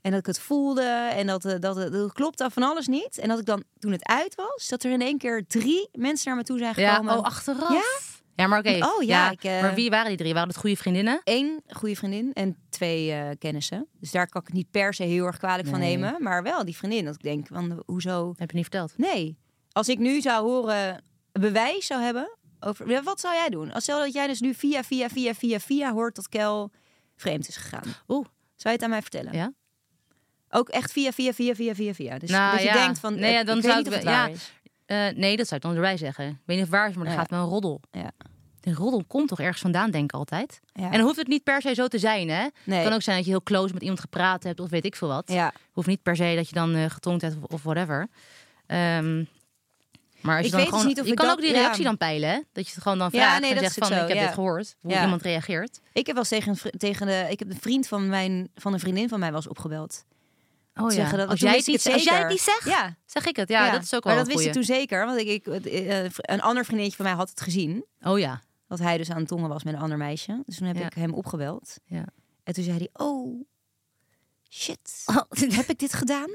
Speaker 2: En dat ik het voelde en dat, eh, dat, dat, dat klopt af van alles niet. En dat ik dan, toen het uit was, dat er in één keer drie mensen naar me toe zijn
Speaker 3: Ja,
Speaker 2: gekomen.
Speaker 3: oh, achteraf.
Speaker 2: Ja?
Speaker 3: Ja, maar oké.
Speaker 2: Oh, ja, ik, eh,
Speaker 3: Maar wie waren die drie? Waren dat goede vriendinnen?
Speaker 2: Eén goede vriendin en twee eh, kennissen. Dus daar kan ik het niet per se heel erg kwalijk van
Speaker 3: Nee.
Speaker 2: nemen. Maar wel die vriendin, dat ik denk, van, hoezo
Speaker 3: Heb je niet verteld?
Speaker 2: Nee. Als ik nu zou horen, bewijs zou hebben over. Ja, Wat zou jij doen? Als stel dat jij dus nu via, via, via, via, via hoort dat Kel vreemd is gegaan. Zou
Speaker 3: Oeh,
Speaker 2: je het aan mij vertellen?
Speaker 3: ja.
Speaker 2: Ook echt via, via, via, via, via, via. Dus
Speaker 3: Nou,
Speaker 2: dat je
Speaker 3: ja.
Speaker 2: denkt van,
Speaker 3: Nee,
Speaker 2: eh,
Speaker 3: ja, dan
Speaker 2: ik
Speaker 3: zou
Speaker 2: weet niet
Speaker 3: ik
Speaker 2: of het
Speaker 3: wel-
Speaker 2: waar
Speaker 3: ja.
Speaker 2: is. Oh,
Speaker 3: Eh, nee, dat zou ik dan erbij zeggen. Ik weet niet of het waar is, maar dan
Speaker 2: Ja.
Speaker 3: gaat me een roddel.
Speaker 2: Ja.
Speaker 3: De roddel komt toch ergens vandaan, denk ik altijd.
Speaker 2: Ja.
Speaker 3: En dan hoeft het niet per se zo te zijn, hè?
Speaker 2: Nee.
Speaker 3: Het kan ook zijn dat je heel close met iemand gepraat hebt of weet ik veel wat.
Speaker 2: Ja.
Speaker 3: Hoeft niet per se dat je dan eh getongd hebt of, of whatever. Ehm, maar als
Speaker 2: Ik weet
Speaker 3: je dan
Speaker 2: dus
Speaker 3: gewoon,
Speaker 2: niet of
Speaker 3: je
Speaker 2: ik
Speaker 3: kan
Speaker 2: dat-
Speaker 3: ook die
Speaker 2: ja.
Speaker 3: reactie dan peilen, hè? Dat je het gewoon dan
Speaker 2: Ja,
Speaker 3: vraagt
Speaker 2: nee,
Speaker 3: en
Speaker 2: dat
Speaker 3: zegt
Speaker 2: is ook
Speaker 3: van,
Speaker 2: zo,
Speaker 3: ik heb
Speaker 2: ja.
Speaker 3: dit gehoord. Hoe
Speaker 2: Ja.
Speaker 3: iemand reageert.
Speaker 2: Ik heb wel eens tegen, een vri- tegen de, ik heb de vriend van, mijn, van een vriendin van mij was opgebeld.
Speaker 3: Oh
Speaker 2: Zeggen dat, want
Speaker 3: als,
Speaker 2: toen
Speaker 3: jij het
Speaker 2: wist ik
Speaker 3: niet,
Speaker 2: het
Speaker 3: als jij het
Speaker 2: zeker.
Speaker 3: niet zegt,
Speaker 2: Ja.
Speaker 3: zeg ik het. Ja, dat is ook wel
Speaker 2: Maar dat
Speaker 3: een
Speaker 2: wist ik
Speaker 3: goeie.
Speaker 2: toen zeker, want ik, ik, eh, een ander vriendinnetje van mij had het gezien.
Speaker 3: Oh ja.
Speaker 2: Dat hij dus aan het tongen was met een ander meisje. Dus toen heb
Speaker 3: Ja.
Speaker 2: ik hem opgebeld.
Speaker 3: ja.
Speaker 2: En toen zei hij, oh, shit, heb ik dit gedaan?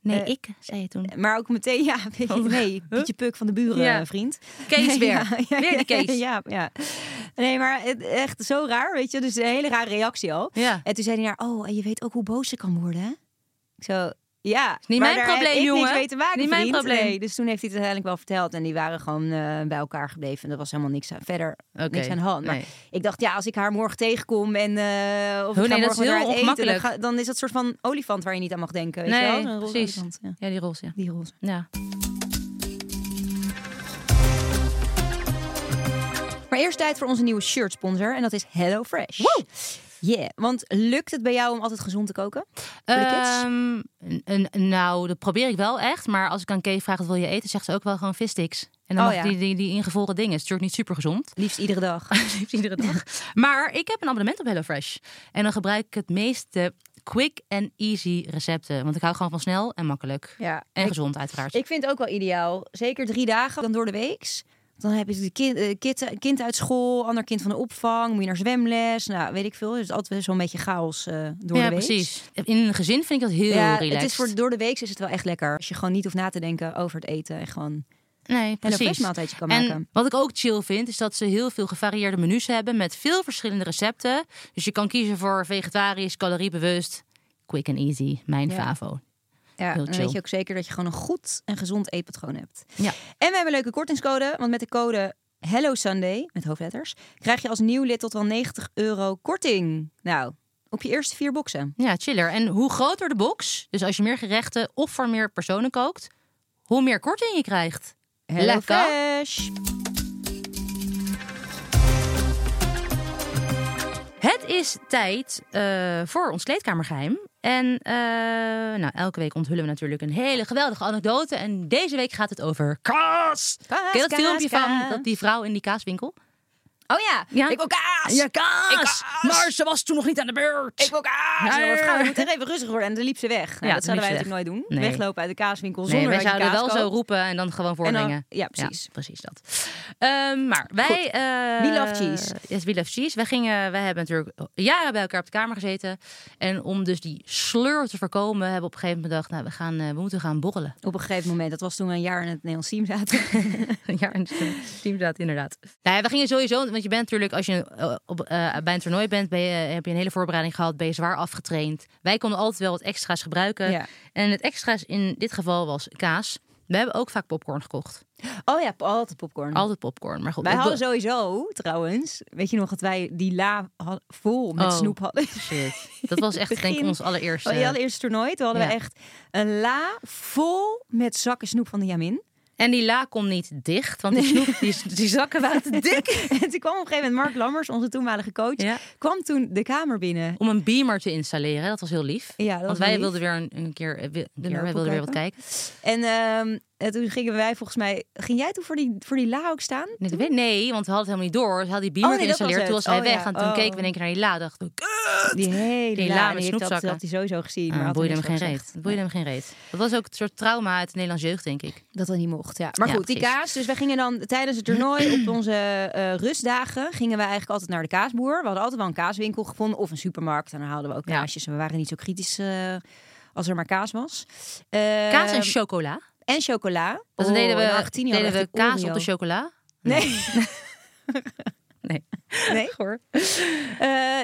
Speaker 3: nee,
Speaker 2: Eh,
Speaker 3: ik zei het toen.
Speaker 2: Maar ook meteen, ja, weet je, nee, beetje puk van de buren,
Speaker 3: Oh, Ja.
Speaker 2: eh, vriend.
Speaker 3: Kees
Speaker 2: Nee,
Speaker 3: weer.
Speaker 2: ja, ja,
Speaker 3: Weer die Kees.
Speaker 2: Ja, ja. Nee, maar het, echt zo raar, weet je. Dus een hele rare reactie al.
Speaker 3: Ja.
Speaker 2: En toen zei hij, nou, oh, en je weet ook hoe boos ze kan worden, hè? Ik zo, ja.
Speaker 3: niet
Speaker 2: maar daar
Speaker 3: mijn probleem,
Speaker 2: heb ik
Speaker 3: jongen.
Speaker 2: niks mee te maken,
Speaker 3: Niet mijn
Speaker 2: vriend.
Speaker 3: probleem.
Speaker 2: Nee, dus toen heeft hij het uiteindelijk wel verteld. En die waren gewoon eh, bij elkaar gebleven. En er was helemaal niks aan, verder
Speaker 3: Oké,
Speaker 2: niks aan de hand. Maar
Speaker 3: nee.
Speaker 2: ik dacht, ja, als ik haar morgen tegenkom en... eh of
Speaker 3: Oh,
Speaker 2: ik ga
Speaker 3: nee, dat is
Speaker 2: morgen met haar
Speaker 3: heel
Speaker 2: uit eten, dan,
Speaker 3: ongemakkelijk.
Speaker 2: ga- dan is dat soort van olifant waar je niet aan mag denken. Weet je
Speaker 3: nee,
Speaker 2: wel? Een roze
Speaker 3: precies.
Speaker 2: olifant,
Speaker 3: Ja.
Speaker 2: ja.
Speaker 3: die roze. Ja.
Speaker 2: Die roze.
Speaker 3: ja.
Speaker 2: Maar eerst tijd voor onze nieuwe shirt sponsor en dat is HelloFresh. Wow! Yeah, want lukt het bij jou om altijd gezond te koken? Voor de kids?
Speaker 3: Ehm, n- n- nou, dat probeer ik wel echt. Maar als ik aan Kay vraag wat wil je eten, zegt ze ook wel gewoon vissticks. En dan
Speaker 2: Oh,
Speaker 3: mag
Speaker 2: ja.
Speaker 3: die, die, die ingevroren dingen. Het is natuurlijk niet super gezond.
Speaker 2: Liefst iedere dag.
Speaker 3: iedere dag. Maar ik heb een abonnement op HelloFresh. En dan gebruik ik het meeste quick en easy recepten. Want ik hou gewoon van snel en makkelijk.
Speaker 2: Ja,
Speaker 3: en
Speaker 2: ik-
Speaker 3: gezond uiteraard.
Speaker 2: Ik vind het ook wel ideaal. Zeker drie dagen dan door de week. Dan heb je de kind, eh, kind, kind uit school, ander kind van de opvang, moet je naar zwemles. Nou, weet ik veel. Dus het is altijd wel zo'n beetje chaos eh, door
Speaker 3: ja,
Speaker 2: de week.
Speaker 3: precies. In een gezin vind ik dat heel
Speaker 2: Ja,
Speaker 3: relaxed.
Speaker 2: het is voor door de week is het wel echt lekker. Als je gewoon niet hoeft na te denken over het eten en gewoon
Speaker 3: Nee, precies.
Speaker 2: Fresh maaltijdje kan
Speaker 3: en
Speaker 2: maken.
Speaker 3: Wat ik ook chill vind, is dat ze heel veel gevarieerde menus hebben met veel verschillende recepten. Dus je kan kiezen voor vegetarisch, caloriebewust. Quick and easy, mijn favo.
Speaker 2: Ja,
Speaker 3: Heel
Speaker 2: dan
Speaker 3: chill.
Speaker 2: weet je ook zeker dat je gewoon een goed en gezond eetpatroon hebt.
Speaker 3: Ja.
Speaker 2: En we hebben een leuke kortingscode, want met de code Hello Sunday met hoofdletters krijg je als nieuw lid tot wel 90 euro korting. Nou, Op je eerste vier boksen.
Speaker 3: Ja, chiller. En hoe groter de box, dus als je meer gerechten of voor meer personen kookt, hoe meer korting je krijgt.
Speaker 2: Fresh.
Speaker 3: Het is tijd eh, voor ons kleedkamergeheim. En eh, nou, elke week onthullen we natuurlijk een hele geweldige anekdote. En deze week gaat het over kaas. Ken je dat
Speaker 2: kaas,
Speaker 3: filmpje van
Speaker 2: kaas.
Speaker 3: dat die vrouw in die kaaswinkel?
Speaker 2: Oh ja.
Speaker 3: Ja.
Speaker 2: Ik wil kaas.
Speaker 3: Ja, kaas! Maar ze was toen nog niet aan de beurt.
Speaker 2: Ik wil kaas.
Speaker 3: Ja,
Speaker 2: En dan
Speaker 3: ja.
Speaker 2: gaan we moeten echt even rustig worden. En dan liep ze weg. Nou,
Speaker 3: Ja,
Speaker 2: dat
Speaker 3: toen liep
Speaker 2: zouden wij
Speaker 3: ze
Speaker 2: natuurlijk nooit doen.
Speaker 3: Nee.
Speaker 2: Weglopen uit de kaaswinkel
Speaker 3: Nee,
Speaker 2: zonder
Speaker 3: wij
Speaker 2: dat je
Speaker 3: zouden
Speaker 2: kaas
Speaker 3: wel zo
Speaker 2: koopt.
Speaker 3: roepen en dan gewoon
Speaker 2: dan-
Speaker 3: voorbrengen.
Speaker 2: ja, precies.
Speaker 3: precies dat. Ehm, maar wij... eh
Speaker 2: We love cheese.
Speaker 3: Yes, we love cheese. Wij, gingen, wij hebben natuurlijk jaren bij elkaar op de kamer gezeten. En om dus die sleur te voorkomen, hebben we op een gegeven moment bedacht... Nou, we, gaan, eh, we moeten gaan borrelen.
Speaker 2: Op een gegeven moment, dat was toen we een jaar in het Nederlands team zaten.
Speaker 3: ja, en inderdaad, inderdaad. Nou ja, we gingen sowieso... Want je bent natuurlijk, als je eh, op, eh, bij een toernooi bent, ben je, eh, heb je een hele voorbereiding gehad. Ben je zwaar afgetraind. Wij konden altijd wel wat extra's gebruiken.
Speaker 2: Ja.
Speaker 3: En het extra's in dit geval was kaas. We hebben ook vaak popcorn gekocht.
Speaker 2: Oh ja, altijd popcorn.
Speaker 3: Altijd popcorn. Maar goed,
Speaker 2: Wij
Speaker 3: ik
Speaker 2: hadden
Speaker 3: wil-
Speaker 2: sowieso, trouwens, weet je nog dat wij die la had- vol met
Speaker 3: Oh,
Speaker 2: snoep hadden?
Speaker 3: Shit. Dat was echt, denk ik,
Speaker 2: Begin-
Speaker 3: ons allereerste.
Speaker 2: Oh, die allereerste toernooi, toen hadden
Speaker 3: Ja.
Speaker 2: we echt een la vol met zakken snoep van de Jamin.
Speaker 3: En die la kon niet dicht, want die, snoep, die, die zakken waren te dik.
Speaker 2: en toen kwam op een gegeven moment Mark Lammers, onze toenmalige coach,
Speaker 3: Ja.
Speaker 2: kwam toen de kamer binnen.
Speaker 3: Om een beamer te installeren, dat was heel lief.
Speaker 2: Ja, dat
Speaker 3: want
Speaker 2: was
Speaker 3: wij
Speaker 2: lief.
Speaker 3: wilden weer een, een keer, eh, wi- een keer wij
Speaker 2: lopen
Speaker 3: wilden weer wat kijken.
Speaker 2: En ehm, en toen gingen wij volgens mij, ging jij toen voor die, voor die la ook staan?
Speaker 3: Nee, dat weet- nee, want we hadden het helemaal niet door. Ze hadden die
Speaker 2: Oh,
Speaker 3: beamer
Speaker 2: nee, dat was
Speaker 3: geïnstalleerd, toen was
Speaker 2: het.
Speaker 3: hij
Speaker 2: Oh,
Speaker 3: weg.
Speaker 2: ja.
Speaker 3: En toen
Speaker 2: Oh.
Speaker 3: keken we in één keer naar die la. dachten we,
Speaker 2: Die hele
Speaker 3: Die la
Speaker 2: la,
Speaker 3: met
Speaker 2: en die heeft dat-
Speaker 3: snoepzakken.
Speaker 2: Dat had hij sowieso gezien. maar
Speaker 3: ah,
Speaker 2: had
Speaker 3: boeide
Speaker 2: hij
Speaker 3: hem geen
Speaker 2: niks over
Speaker 3: reet.
Speaker 2: gezegd.
Speaker 3: Dat boeide hem geen reet. Dat was ook het soort trauma uit het Nederlands jeugd, denk ik.
Speaker 2: Dat dat niet mocht, ja. Maar
Speaker 3: Ja,
Speaker 2: goed, die
Speaker 3: precies.
Speaker 2: kaas. Dus wij gingen dan tijdens het toernooi op onze eh, rustdagen... gingen wij eigenlijk altijd naar de kaasboer. We hadden altijd wel een kaaswinkel gevonden of een supermarkt. En dan haalden we ook
Speaker 3: Ja.
Speaker 2: kaasjes. En we waren niet zo kritisch eh, als er maar kaas was. Eh,
Speaker 3: Kaas en chocola.
Speaker 2: en chocola.
Speaker 3: Dus dan
Speaker 2: Oh,
Speaker 3: deden
Speaker 2: in
Speaker 3: we,
Speaker 2: Argentinië hadden
Speaker 3: deden we
Speaker 2: echt die
Speaker 3: kaas op
Speaker 2: Oreo.
Speaker 3: de chocola.
Speaker 2: Nee.
Speaker 3: Nee.
Speaker 2: Nee, hoor.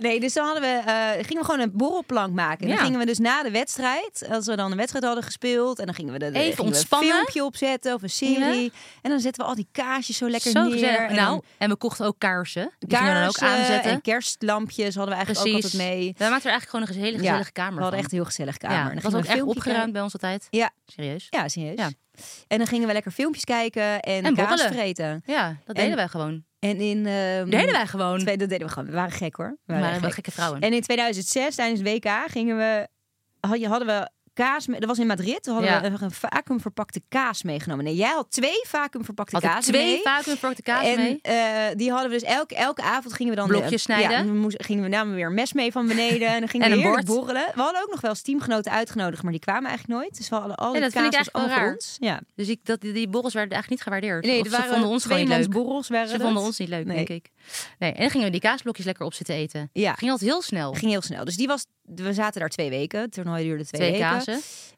Speaker 2: nee, dus dan hadden we, eh, gingen we gewoon een borrelplank maken. En
Speaker 3: Ja.
Speaker 2: dan gingen we dus na de wedstrijd, als we dan een wedstrijd hadden gespeeld... en dan gingen we, de, de-
Speaker 3: Even
Speaker 2: gingen we
Speaker 3: ontspannen.
Speaker 2: een filmpje opzetten of een serie.
Speaker 3: Ja.
Speaker 2: En dan zetten we al die kaasjes zo lekker
Speaker 3: Zo
Speaker 2: neer.
Speaker 3: gezellig.
Speaker 2: En
Speaker 3: nou,
Speaker 2: dan
Speaker 3: en we kochten ook kaarsen. Die gingen we dan ook
Speaker 2: kaarsen
Speaker 3: aanzetten.
Speaker 2: en kerstlampjes hadden we eigenlijk ook altijd mee.
Speaker 3: Wij maakten er eigenlijk gewoon een hele gezellige kamer
Speaker 2: we hadden
Speaker 3: van.
Speaker 2: echt een heel gezellig kamer.
Speaker 3: Ja,
Speaker 2: En dan
Speaker 3: dat was
Speaker 2: gingen we
Speaker 3: ook echt
Speaker 2: een filmpje
Speaker 3: opgeruimd bij ons altijd.
Speaker 2: kijken. Ja,
Speaker 3: Serieus. Ja,
Speaker 2: ja, serieus.
Speaker 3: Ja.
Speaker 2: En dan gingen we lekker filmpjes kijken en,
Speaker 3: En
Speaker 2: kaas
Speaker 3: borrelen.
Speaker 2: vreten.
Speaker 3: dat
Speaker 2: En-
Speaker 3: deden wij gewoon.
Speaker 2: En in... ehm,
Speaker 3: Dat deden wij gewoon.
Speaker 2: Twee, dat deden we gewoon. We waren gek hoor.
Speaker 3: we waren wel gekke vrouwen.
Speaker 2: En in 2006 tijdens het WK gingen we, had- hadden we kaas. mee- Dat was in Madrid. Toen hadden
Speaker 3: Ja.
Speaker 2: we een vacuümverpakte kaas meegenomen. Nee, jij had twee vacuümverpakte
Speaker 3: Had ik
Speaker 2: kaas
Speaker 3: twee
Speaker 2: mee.
Speaker 3: vacuümverpakte kaas
Speaker 2: en,
Speaker 3: mee.
Speaker 2: eh, die hadden we dus elke, elke avond gingen we dan
Speaker 3: Blokjes
Speaker 2: eh,
Speaker 3: snijden.
Speaker 2: Ja, we moesten- gingen we namen weer een mes mee van beneden en dan gingen
Speaker 3: En
Speaker 2: we
Speaker 3: een
Speaker 2: heerlijk
Speaker 3: bord.
Speaker 2: borrelen. We hadden ook nog wel eens teamgenoten uitgenodigd, maar die kwamen eigenlijk nooit. Dus we hadden al
Speaker 3: Ja,
Speaker 2: die
Speaker 3: dat vind ik
Speaker 2: kaas was
Speaker 3: eigenlijk wel
Speaker 2: allemaal voor
Speaker 3: raar.
Speaker 2: ons. Ja.
Speaker 3: Dus ik, dat, die, die borrels werden eigenlijk niet gewaardeerd.
Speaker 2: Nee,
Speaker 3: Of
Speaker 2: er
Speaker 3: ze
Speaker 2: waren
Speaker 3: vonden ons gewoon niet leuk.
Speaker 2: tweemansborrels waren
Speaker 3: Ze vonden
Speaker 2: dat.
Speaker 3: ons niet leuk,
Speaker 2: Nee.
Speaker 3: denk ik. Nee, en dan gingen we die kaasblokjes lekker op zitten eten.
Speaker 2: Ja.
Speaker 3: Ging altijd heel snel.
Speaker 2: ging heel snel. Dus die was, we zaten daar twee weken. Het toernooi duurde twee,
Speaker 3: Twee
Speaker 2: weken.
Speaker 3: kazen.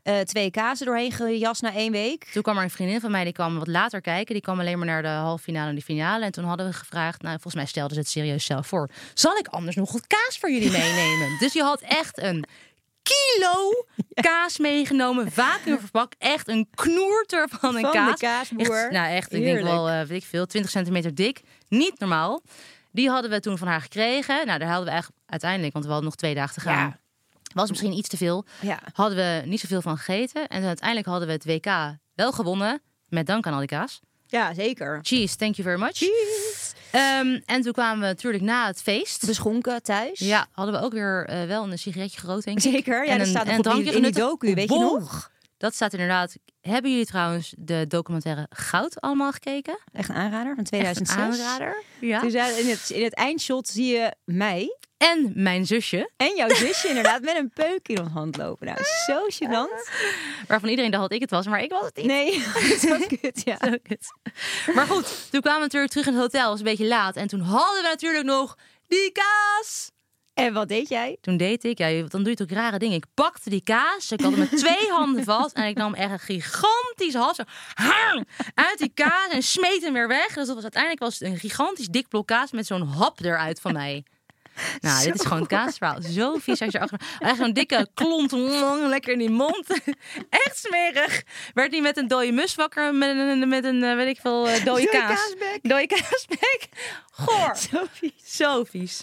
Speaker 2: Eh, twee kazen doorheen gejast na één week.
Speaker 3: Toen kwam er een vriendin van mij, die kwam wat later kijken. Die kwam alleen maar naar de halve finale en de finale. En toen hadden we gevraagd, nou volgens mij stelden ze het serieus zelf voor. Zal ik anders nog wat kaas voor jullie meenemen? dus je had echt een kilo kaas meegenomen, vacuümverpakt. Echt een knoerter van een
Speaker 2: Van de
Speaker 3: kaas.
Speaker 2: kaasboer.
Speaker 3: Echt, nou echt, ik
Speaker 2: Heerlijk.
Speaker 3: denk wel, eh, weet ik veel, 20 centimeter dik. Niet normaal. Die hadden we toen van haar gekregen. Nou, daar hadden we eigenlijk uiteindelijk, want we hadden nog twee dagen te gaan.
Speaker 2: Ja.
Speaker 3: Was misschien iets te veel.
Speaker 2: Ja.
Speaker 3: Hadden we niet zoveel van gegeten. En uiteindelijk hadden we het WK wel gewonnen. Met dank aan al die kaas.
Speaker 2: Ja, zeker.
Speaker 3: Cheese, thank you very much. Ehm, en toen kwamen we natuurlijk na het feest.
Speaker 2: Dus- Beschonken thuis.
Speaker 3: ja, hadden we ook weer eh, wel een sigaretje gerookt, denk ik.
Speaker 2: Zeker. Ja,
Speaker 3: En
Speaker 2: dat
Speaker 3: een-
Speaker 2: staat
Speaker 3: en
Speaker 2: nog op die-
Speaker 3: drankje
Speaker 2: in die
Speaker 3: genuttigd.
Speaker 2: docu, weet je
Speaker 3: Bon.
Speaker 2: nog?
Speaker 3: Dat staat inderdaad. Hebben jullie trouwens de documentaire Goud allemaal gekeken?
Speaker 2: Echt een aanrader van
Speaker 3: Echt een
Speaker 2: 2006.
Speaker 3: Aanrader. Ja.
Speaker 2: Dus ja, in, het, in het eindshot zie je mij
Speaker 3: En mijn zusje,
Speaker 2: en jouw zusje inderdaad met een peuk in ons hand lopen. Nou, zo
Speaker 3: Ah,
Speaker 2: gênant.
Speaker 3: waarvan iedereen dacht dat ik het was, maar ik was het niet.
Speaker 2: Nee, zo kut, ja.
Speaker 3: Ook het. Maar goed, toen kwamen we natuurlijk terug in het hotel. Het was een beetje laat. En toen hadden we natuurlijk nog die kaas.
Speaker 2: En wat deed jij?
Speaker 3: Toen deed ik, ja, je- dan doe je toch rare dingen. Ik pakte die kaas, ik had hem met twee handen vast en ik nam echt een gigantisch hap zo, hang, uit die kaas en smeet hem weer weg. Dus dat was, uiteindelijk was het een gigantisch dik blok kaas met zo'n hap eruit van mij. Nou, dit is gewoon een kaasverhaal. Zo vies als je achter. Echt zo'n dikke klont, lang, lekker in die mond. Echt smerig. Werd niet met een dode mus wakker, met een, met een eh, weet ik veel, eh, dode
Speaker 2: Dode
Speaker 3: kaas.
Speaker 2: kaasbek.
Speaker 3: Dode kaasbek. Goor.
Speaker 2: Sophie.
Speaker 3: Zo vies.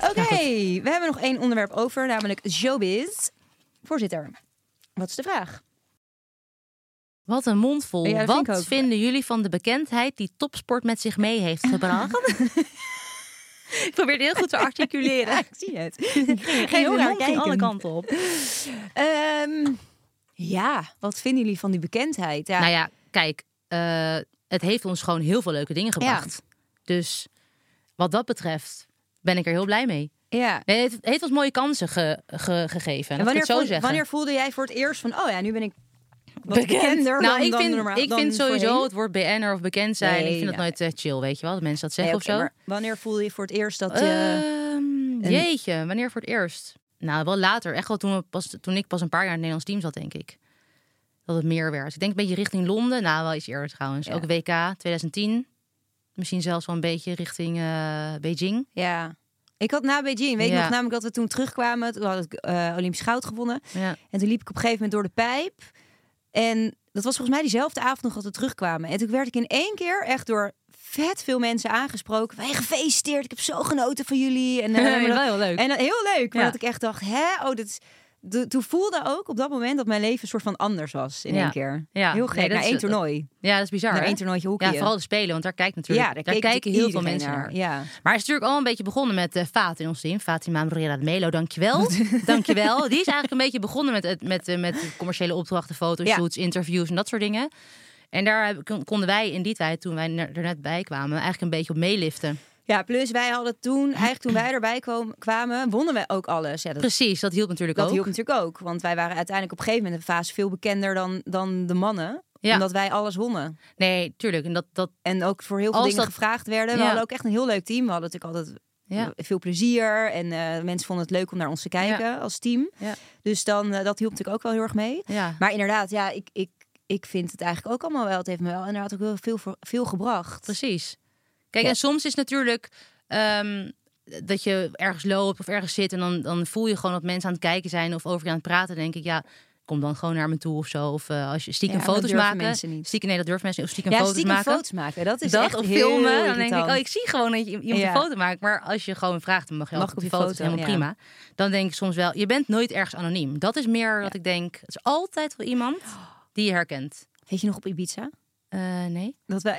Speaker 2: Oké, we hebben nog één onderwerp over, namelijk showbiz. Voorzitter, wat is de vraag?
Speaker 3: Wat een mondvol.
Speaker 2: Ja, dat vind
Speaker 3: Wat
Speaker 2: ik ook.
Speaker 3: vinden jullie van de bekendheid die topsport met zich mee heeft gebracht? ik probeer het heel goed te articuleren.
Speaker 2: Ja, ik zie het. Geen,
Speaker 3: Mijn mond ging alle kanten op.
Speaker 2: Ehm, ja, wat vinden jullie van die bekendheid? Ja,
Speaker 3: Nou ja, kijk, eh, het heeft ons gewoon heel veel leuke dingen gebracht. Dus wat dat betreft ben ik er heel blij mee.
Speaker 2: ja.
Speaker 3: Nee, Het heeft ons mooie kansen ge- ge-
Speaker 2: En
Speaker 3: gegeven. laat ik
Speaker 2: wanneer,
Speaker 3: het zo
Speaker 2: voel-
Speaker 3: zeggen.
Speaker 2: wanneer voelde jij voor het eerst van, oh ja, nu ben ik wat bekender
Speaker 3: nou,
Speaker 2: dan,
Speaker 3: ik
Speaker 2: dan
Speaker 3: vind,
Speaker 2: normaal-
Speaker 3: ik
Speaker 2: dan
Speaker 3: vind sowieso
Speaker 2: voorheen?
Speaker 3: het woord BN'er of bekend zijn.
Speaker 2: Nee,
Speaker 3: ik vind dat
Speaker 2: nou,
Speaker 3: nooit eh, chill, weet je wel. Dat mensen dat
Speaker 2: Nee,
Speaker 3: zeggen
Speaker 2: oké,
Speaker 3: of zo. Eh,
Speaker 2: maar wanneer voelde je voor het eerst dat eh, je...
Speaker 3: Ehm, jeetje, wanneer voor het eerst? Nou, wel later. Echt wel toen, we pas, toen ik pas een paar jaar in het Nederlands team zat, denk ik. Dat het meer werd. Ik denk een beetje richting Londen. Nou, wel iets eerder trouwens. Ook WK 2010. Misschien zelfs wel een beetje richting eh, Beijing.
Speaker 2: Ja. Ik had na Beijing, weet ik
Speaker 3: Ja.
Speaker 2: nog namelijk dat we toen terugkwamen. Toen had ik eh, Olympisch goud gewonnen.
Speaker 3: Ja.
Speaker 2: En toen liep ik op een gegeven moment door de pijp. En dat was volgens mij diezelfde avond nog dat we terugkwamen. En toen werd ik in één keer echt door vet veel mensen aangesproken. Wij gefeliciteerd, ik heb zo genoten van jullie. En, eh,
Speaker 3: Ja,
Speaker 2: en
Speaker 3: wel
Speaker 2: dat-
Speaker 3: heel leuk.
Speaker 2: En dat- heel leuk, maar
Speaker 3: Ja.
Speaker 2: dat ik echt dacht, hè, oh, dit is... de- Toen voelde ook op dat moment dat mijn leven een soort van anders was in
Speaker 3: Ja.
Speaker 2: één keer.
Speaker 3: Ja.
Speaker 2: Heel
Speaker 3: Nee,
Speaker 2: gek,
Speaker 3: dat
Speaker 2: na
Speaker 3: is-
Speaker 2: één toernooi.
Speaker 3: ja, dat is bizar.
Speaker 2: Naar
Speaker 3: hè?
Speaker 2: één toernooitje hockey.
Speaker 3: Ja, vooral de Spelen, want daar kijkt natuurlijk,
Speaker 2: Ja,
Speaker 3: daar,
Speaker 2: daar keek
Speaker 3: kijken heel
Speaker 2: natuurlijk
Speaker 3: veel mensen naar.
Speaker 2: iedereen naar, ja.
Speaker 3: Maar het is natuurlijk al een beetje begonnen met eh Faat in ons team. Fatima Moreira de Melo, dankjewel. dankjewel. Die is eigenlijk een beetje begonnen met, het- met, eh, met commerciële opdrachten, fotoshoots, interviews en dat soort dingen. En daar heb- kon- konden wij in die tijd, toen wij er er net bij kwamen, eigenlijk een beetje op meeliften.
Speaker 2: Ja, plus wij hadden toen, eigenlijk toen wij erbij kwam- kwamen, wonnen we ook alles. Ja, dat
Speaker 3: Precies, dat hielp natuurlijk
Speaker 2: Dat
Speaker 3: ook.
Speaker 2: hielp natuurlijk ook, want wij waren uiteindelijk op een gegeven moment in de fase veel bekender dan, dan de mannen.
Speaker 3: Ja.
Speaker 2: Omdat wij alles wonnen.
Speaker 3: Nee, tuurlijk. En dat, dat,
Speaker 2: En ook voor heel veel
Speaker 3: Als
Speaker 2: dingen
Speaker 3: dat-
Speaker 2: gevraagd werden. We
Speaker 3: Ja.
Speaker 2: hadden ook echt een heel leuk team. We hadden natuurlijk altijd
Speaker 3: Ja.
Speaker 2: veel plezier. En eh, mensen vonden het leuk om naar ons te kijken als team.
Speaker 3: Ja.
Speaker 2: Dus dan, eh, dat hielp natuurlijk ook wel heel erg mee.
Speaker 3: ja.
Speaker 2: Maar inderdaad, ja, ik, ik, ik vind het eigenlijk ook allemaal wel. Het heeft me wel inderdaad ook heel veel, voor- veel gebracht.
Speaker 3: Precies. Kijk, en soms is natuurlijk ehm, dat je ergens loopt of ergens zit en dan, dan voel je gewoon dat mensen aan het kijken zijn of over je aan het praten. Dan denk ik, ja, kom dan gewoon naar me toe of zo. Of eh, als je stiekem
Speaker 2: Ja, dat
Speaker 3: foto's
Speaker 2: durven
Speaker 3: maken.
Speaker 2: mensen niet.
Speaker 3: Stiekem, nee, dat durven mensen niet. Of stiekem
Speaker 2: Ja,
Speaker 3: foto's
Speaker 2: stiekem
Speaker 3: maken.
Speaker 2: foto's maken. Dat is
Speaker 3: dat
Speaker 2: echt
Speaker 3: of
Speaker 2: heel
Speaker 3: filmen. Dan denk ik,
Speaker 2: irritant.
Speaker 3: oh, ik zie gewoon dat je iemand
Speaker 2: Ja.
Speaker 3: een foto maakt. Maar als je gewoon vraagt, dan mag je
Speaker 2: Mag
Speaker 3: altijd
Speaker 2: ik
Speaker 3: op die
Speaker 2: op die
Speaker 3: foto's.
Speaker 2: foto?
Speaker 3: Helemaal prima. Dan denk ik soms wel, je bent nooit ergens anoniem. Dat is meer dat ik denk, het is altijd wel iemand die je herkent.
Speaker 2: Weet je nog op Ibiza?
Speaker 3: Eh, nee.
Speaker 2: Dat wij,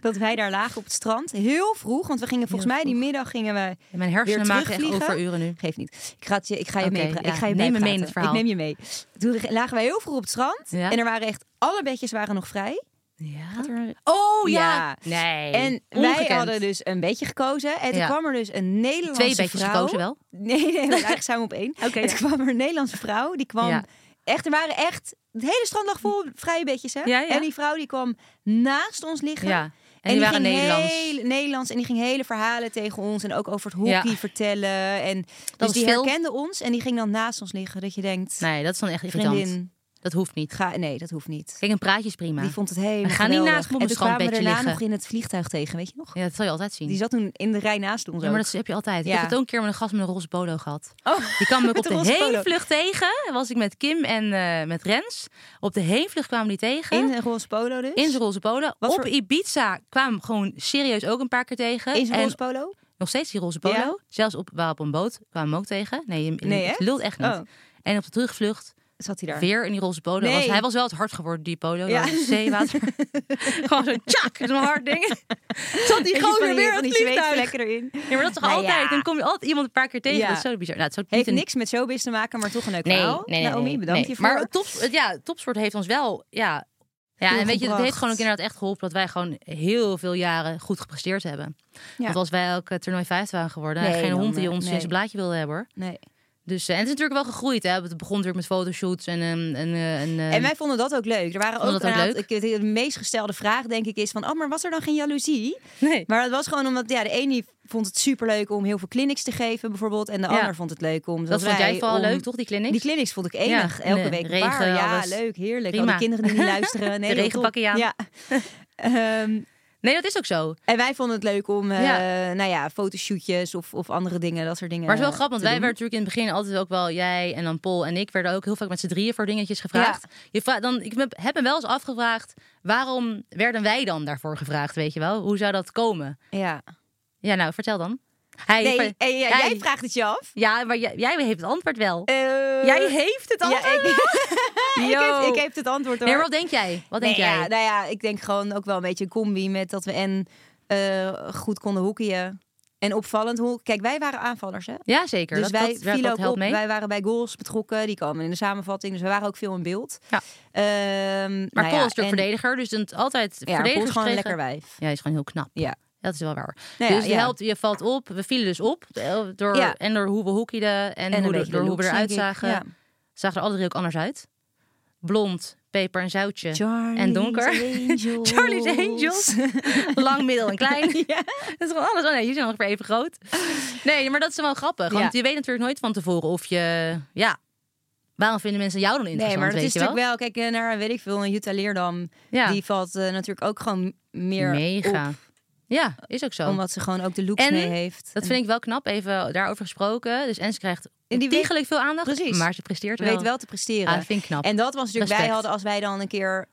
Speaker 2: dat wij daar lagen op het strand. Heel vroeg. Want we gingen volgens mij die middag gingen we.
Speaker 3: Mijn hersenen
Speaker 2: weer
Speaker 3: maken echt
Speaker 2: terugvliegen.
Speaker 3: overuren nu.
Speaker 2: Geeft niet. Ik ga, het je, ik ga je
Speaker 3: Oké,
Speaker 2: mee.
Speaker 3: ja,
Speaker 2: ik ga je
Speaker 3: neem me mee
Speaker 2: bijpraten.
Speaker 3: in het verhaal.
Speaker 2: Ik neem je mee. Toen lagen wij heel vroeg op het strand.
Speaker 3: Ja.
Speaker 2: En er waren echt. Alle bedjes waren nog vrij.
Speaker 3: Ja. Oh ja. Nee.
Speaker 2: En
Speaker 3: ongekend.
Speaker 2: wij hadden dus een beetje gekozen. En toen
Speaker 3: Ja.
Speaker 2: kwam er dus een Nederlandse
Speaker 3: Twee bedjes
Speaker 2: vrouw.
Speaker 3: gekozen wel?
Speaker 2: Nee, nee, want eigenlijk zijn we op één.
Speaker 3: Oké,
Speaker 2: en
Speaker 3: ja.
Speaker 2: toen kwam er een Nederlandse vrouw. Die kwam...
Speaker 3: Ja.
Speaker 2: Echt, er waren echt... Het hele strand lag vol vrije bedjes, hè?
Speaker 3: Ja, ja.
Speaker 2: En die vrouw die kwam naast ons liggen.
Speaker 3: Ja. En die waren
Speaker 2: ging
Speaker 3: Nederlands.
Speaker 2: hele- Nederlands. En die ging hele verhalen tegen ons. En ook over het hockey
Speaker 3: Ja.
Speaker 2: vertellen. En dus
Speaker 3: was
Speaker 2: die
Speaker 3: veel.
Speaker 2: herkende ons. En die ging dan naast ons liggen. Dat je denkt,
Speaker 3: Nee, dat is dan echt irritant.
Speaker 2: vriendin,
Speaker 3: Dat hoeft niet.
Speaker 2: ga... Nee, dat hoeft niet.
Speaker 3: Kijk, een praatje is prima.
Speaker 2: Die vond het helemaal
Speaker 3: We gaan niet
Speaker 2: geweldig.
Speaker 3: naast me op
Speaker 2: En
Speaker 3: een
Speaker 2: toen kwamen we
Speaker 3: strandbedje
Speaker 2: daarna
Speaker 3: liggen.
Speaker 2: nog in het vliegtuig tegen, weet je nog?
Speaker 3: Ja, dat zal je altijd zien.
Speaker 2: Die zat toen in de rij naast ons
Speaker 3: Ja, maar
Speaker 2: ook.
Speaker 3: dat heb je altijd. Ik
Speaker 2: Ja.
Speaker 3: heb het ook een keer met een gast met een roze polo gehad.
Speaker 2: Oh,
Speaker 3: Die kwam me ook
Speaker 2: met
Speaker 3: op de
Speaker 2: een roze polo.
Speaker 3: heenvlucht tegen. Was ik met Kim en eh, met Rens. Op de heenvlucht kwamen die tegen.
Speaker 2: In een roze polo dus?
Speaker 3: in zijn roze polo.
Speaker 2: Wat
Speaker 3: op
Speaker 2: voor-
Speaker 3: Ibiza kwamen we gewoon serieus ook een paar keer tegen.
Speaker 2: In zijn
Speaker 3: En
Speaker 2: roze polo?
Speaker 3: nog steeds die roze polo.
Speaker 2: Ja.
Speaker 3: Zelfs op, we waren op een boot kwamen we hem ook tegen. Nee, je-
Speaker 2: Nee,
Speaker 3: het
Speaker 2: echt?
Speaker 3: lult echt niet.
Speaker 2: Oh.
Speaker 3: En op de terugvlucht
Speaker 2: Zat hij daar?
Speaker 3: Weer in die roze polo.
Speaker 2: Nee.
Speaker 3: Was, hij was wel het hard geworden, die
Speaker 2: Ja.
Speaker 3: polo. Ja. Zeewater. Gewoon zo tjak, zo'n hard ding. Zat die
Speaker 2: Beetje van
Speaker 3: gozer
Speaker 2: die-
Speaker 3: weer
Speaker 2: van
Speaker 3: het
Speaker 2: die
Speaker 3: vliegtuig.
Speaker 2: zweetvlekken erin.
Speaker 3: Ja, maar dat is toch
Speaker 2: Nou
Speaker 3: altijd?
Speaker 2: ja.
Speaker 3: Dan kom je altijd iemand een paar keer tegen.
Speaker 2: Ja.
Speaker 3: Dat is zo bizar. Nou, het is ook niet
Speaker 2: Heeft
Speaker 3: een-
Speaker 2: niks met showbiz te maken, maar toch een leuk
Speaker 3: Nee,
Speaker 2: verhaal.
Speaker 3: nee, nee,
Speaker 2: Naomi,
Speaker 3: nee,
Speaker 2: bedankt
Speaker 3: nee.
Speaker 2: hiervoor.
Speaker 3: Maar topsport, ja, topsport heeft ons wel... Ja, ja
Speaker 2: Veel
Speaker 3: en weet je, dat heeft
Speaker 2: gebracht.
Speaker 3: gewoon ook inderdaad echt geholpen... dat wij gewoon heel veel jaren goed gepresteerd hebben.
Speaker 2: Ja.
Speaker 3: Want als wij ook eh, toernooi 5 waren geworden...
Speaker 2: Nee,
Speaker 3: geen
Speaker 2: dan,
Speaker 3: hond die
Speaker 2: eh,
Speaker 3: ons in
Speaker 2: nee.
Speaker 3: zijn blaadje wilde hebben, hoor.
Speaker 2: nee.
Speaker 3: Dus, eh, en het is natuurlijk wel gegroeid. Hè? Het begon natuurlijk met fotoshoots en... ehm, en, eh, en, eh,
Speaker 2: En wij vonden dat ook leuk. Er waren
Speaker 3: Vonden
Speaker 2: ook,
Speaker 3: dat ook
Speaker 2: inderdaad- ik- de meest gestelde vraag, denk ik, is van... Oh, maar was er dan geen jaloezie?
Speaker 3: Nee.
Speaker 2: Maar dat was gewoon omdat ja, de ene die vond het superleuk om heel veel clinics te geven, bijvoorbeeld. En de
Speaker 3: Ja.
Speaker 2: ander vond het leuk om...
Speaker 3: Dat
Speaker 2: zoals
Speaker 3: vond
Speaker 2: wij,
Speaker 3: jij vooral
Speaker 2: om-
Speaker 3: leuk, toch, die clinics?
Speaker 2: Die clinics vond ik enig.
Speaker 3: Ja,
Speaker 2: Elke
Speaker 3: de
Speaker 2: week een
Speaker 3: regen,
Speaker 2: paar. Ja,
Speaker 3: alles.
Speaker 2: leuk, heerlijk. Al
Speaker 3: Prima.
Speaker 2: die kinderen die niet luisteren. Nee,
Speaker 3: De
Speaker 2: heel top.
Speaker 3: regenbakkenjaan.
Speaker 2: Ja. Ehm,
Speaker 3: Nee, dat is ook zo.
Speaker 2: en wij vonden het leuk om, eh,
Speaker 3: Ja.
Speaker 2: nou ja, fotoshootjes of, of andere dingen, dat soort dingen.
Speaker 3: Maar het is wel grappig, want
Speaker 2: te
Speaker 3: wij
Speaker 2: doen.
Speaker 3: werden natuurlijk in het begin altijd ook wel, jij en dan Paul en ik, werden ook heel vaak met z'n drieën voor dingetjes gevraagd. Je vra dan, ik heb- heb me wel eens afgevraagd, waarom werden wij dan daarvoor gevraagd, weet je wel? Hoe zou dat komen?
Speaker 2: Ja.
Speaker 3: Ja, nou, vertel dan. Hij,
Speaker 2: Nee,
Speaker 3: ver-
Speaker 2: eh, ja,
Speaker 3: hij-
Speaker 2: jij vraagt het je af.
Speaker 3: Ja, maar jij, jij heeft het antwoord wel.
Speaker 2: Eh,
Speaker 3: jij heeft het
Speaker 2: ja,
Speaker 3: antwoord
Speaker 2: ik,
Speaker 3: wel.
Speaker 2: ik,
Speaker 3: Yo.
Speaker 2: heb, ik heb het antwoord hoor.
Speaker 3: Nee, maar wat denk jij? Wat denk
Speaker 2: Nee,
Speaker 3: jij?
Speaker 2: Ja, nou ja, ik denk gewoon ook wel een beetje een combi met dat we en eh, goed konden hoekien en opvallend hoek. Kijk, wij waren aanvallers, hè?
Speaker 3: Ja, zeker.
Speaker 2: Dus
Speaker 3: dat,
Speaker 2: wij
Speaker 3: dat, dat,
Speaker 2: vielen
Speaker 3: dat
Speaker 2: ook
Speaker 3: helpt
Speaker 2: op.
Speaker 3: mee.
Speaker 2: Wij waren bij goals betrokken. Die kwamen in de samenvatting. Dus we waren ook veel in beeld.
Speaker 3: Ja.
Speaker 2: Ehm, nou
Speaker 3: Maar
Speaker 2: ja,
Speaker 3: Paul is natuurlijk
Speaker 2: en-
Speaker 3: verdediger, dus dan altijd
Speaker 2: Ja, Paul
Speaker 3: verdedigers
Speaker 2: is gewoon een
Speaker 3: kregen-
Speaker 2: lekker wijf.
Speaker 3: Ja, hij is gewoon heel knap.
Speaker 2: Ja.
Speaker 3: Dat is wel waar.
Speaker 2: Nou ja,
Speaker 3: dus je,
Speaker 2: ja.
Speaker 3: helpt, je valt op. We vielen dus op. eh, Door,
Speaker 2: Ja.
Speaker 3: En door hoe we hoekiden en,
Speaker 2: een
Speaker 3: hoe, de,
Speaker 2: beetje de
Speaker 3: door hoe we
Speaker 2: looks,
Speaker 3: eruit
Speaker 2: denk ik.
Speaker 3: zagen.
Speaker 2: Ja.
Speaker 3: Zagen er alle drie ook anders uit. Blond, peper en zoutje.
Speaker 2: Charlie's
Speaker 3: en donker.
Speaker 2: Angels.
Speaker 3: Charlie's Angels. Lang, middel en klein. Dat is gewoon alles. Oh nee, jullie zijn ongeveer even groot. Nee, maar dat is wel grappig. Want
Speaker 2: Ja.
Speaker 3: je weet natuurlijk nooit van tevoren of je... Ja, waarom vinden mensen jou dan
Speaker 2: Nee,
Speaker 3: interessant?
Speaker 2: maar dat
Speaker 3: weet
Speaker 2: is
Speaker 3: je wel?
Speaker 2: natuurlijk wel. Kijk, eh, naar weet ik veel, een Jutta Leerdam.
Speaker 3: Ja.
Speaker 2: Die valt eh, natuurlijk ook gewoon meer
Speaker 3: Mega.
Speaker 2: op,
Speaker 3: Ja, is ook zo.
Speaker 2: omdat ze gewoon ook de looks
Speaker 3: En
Speaker 2: mee heeft.
Speaker 3: Dat vind ik wel knap, even daarover gesproken. Dus en ze krijgt
Speaker 2: En die
Speaker 3: ontiegelijk veel aandacht,
Speaker 2: Precies.
Speaker 3: maar ze presteert
Speaker 2: Ze
Speaker 3: wel.
Speaker 2: weet wel te presteren.
Speaker 3: Ah, dat vind ik knap.
Speaker 2: En dat was natuurlijk, wij
Speaker 3: Respect.
Speaker 2: hadden als wij dan een keer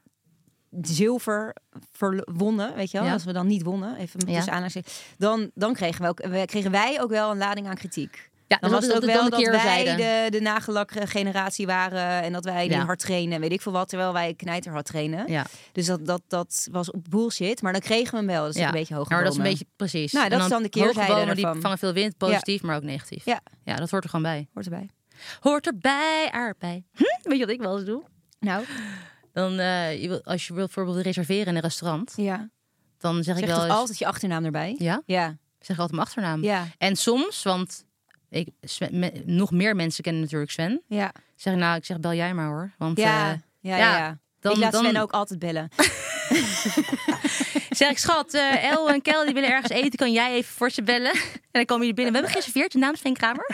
Speaker 2: zilver verlo- wonnen, weet je wel,
Speaker 3: Ja.
Speaker 2: als we dan niet wonnen, even
Speaker 3: Ja.
Speaker 2: tussen aanhalingstekens, dan, dan kregen, we ook, we- kregen wij ook wel een lading aan kritiek.
Speaker 3: Ja,
Speaker 2: dan
Speaker 3: dus
Speaker 2: was
Speaker 3: dat
Speaker 2: het ook
Speaker 3: is dan
Speaker 2: wel
Speaker 3: de
Speaker 2: dat wij
Speaker 3: keerzijde.
Speaker 2: de, de nagelakkere generatie waren en dat wij die
Speaker 3: Ja.
Speaker 2: hard trainen en weet ik veel wat, terwijl wij knijter hard trainen.
Speaker 3: Ja.
Speaker 2: Dus dat, dat, dat was op bullshit, maar dan kregen we hem wel. Dus
Speaker 3: Ja.
Speaker 2: een beetje hoog
Speaker 3: Maar dat is een
Speaker 2: gebomen.
Speaker 3: beetje precies.
Speaker 2: Nou,
Speaker 3: En
Speaker 2: dat is dan de
Speaker 3: hoge
Speaker 2: keerzijde
Speaker 3: bomen, die
Speaker 2: ervan.
Speaker 3: vangen veel wind, positief, maar ook negatief.
Speaker 2: Ja.
Speaker 3: dat hoort er gewoon bij.
Speaker 2: Hoort erbij.
Speaker 3: Hoort erbij, aardbei. Hm? Weet je wat ik wel eens doe?
Speaker 2: Nou,
Speaker 3: Dan, eh, je wil, als je wilt bijvoorbeeld reserveren in een restaurant,
Speaker 2: ja.
Speaker 3: dan
Speaker 2: Zeg
Speaker 3: zeg, ik wel
Speaker 2: toch
Speaker 3: eens,
Speaker 2: altijd je achternaam erbij?
Speaker 3: Ja?
Speaker 2: Ja.
Speaker 3: ik zeg altijd mijn achternaam.
Speaker 2: Ja.
Speaker 3: En soms, want ik, Sven- me- nog meer mensen kennen natuurlijk Sven,
Speaker 2: Ja.
Speaker 3: zeg ik, nou, ik zeg bel jij maar hoor. Want,
Speaker 2: Ja,
Speaker 3: eh,
Speaker 2: ja, ja. ja.
Speaker 3: Dan,
Speaker 2: ik laat
Speaker 3: dan,
Speaker 2: Sven ook altijd bellen.
Speaker 3: Zeg ik, schat, eh, El en Kel die willen ergens eten. Kan jij even voor ze bellen? En dan komen jullie binnen. We hebben gereserveerd, de naam is Sven Kramer.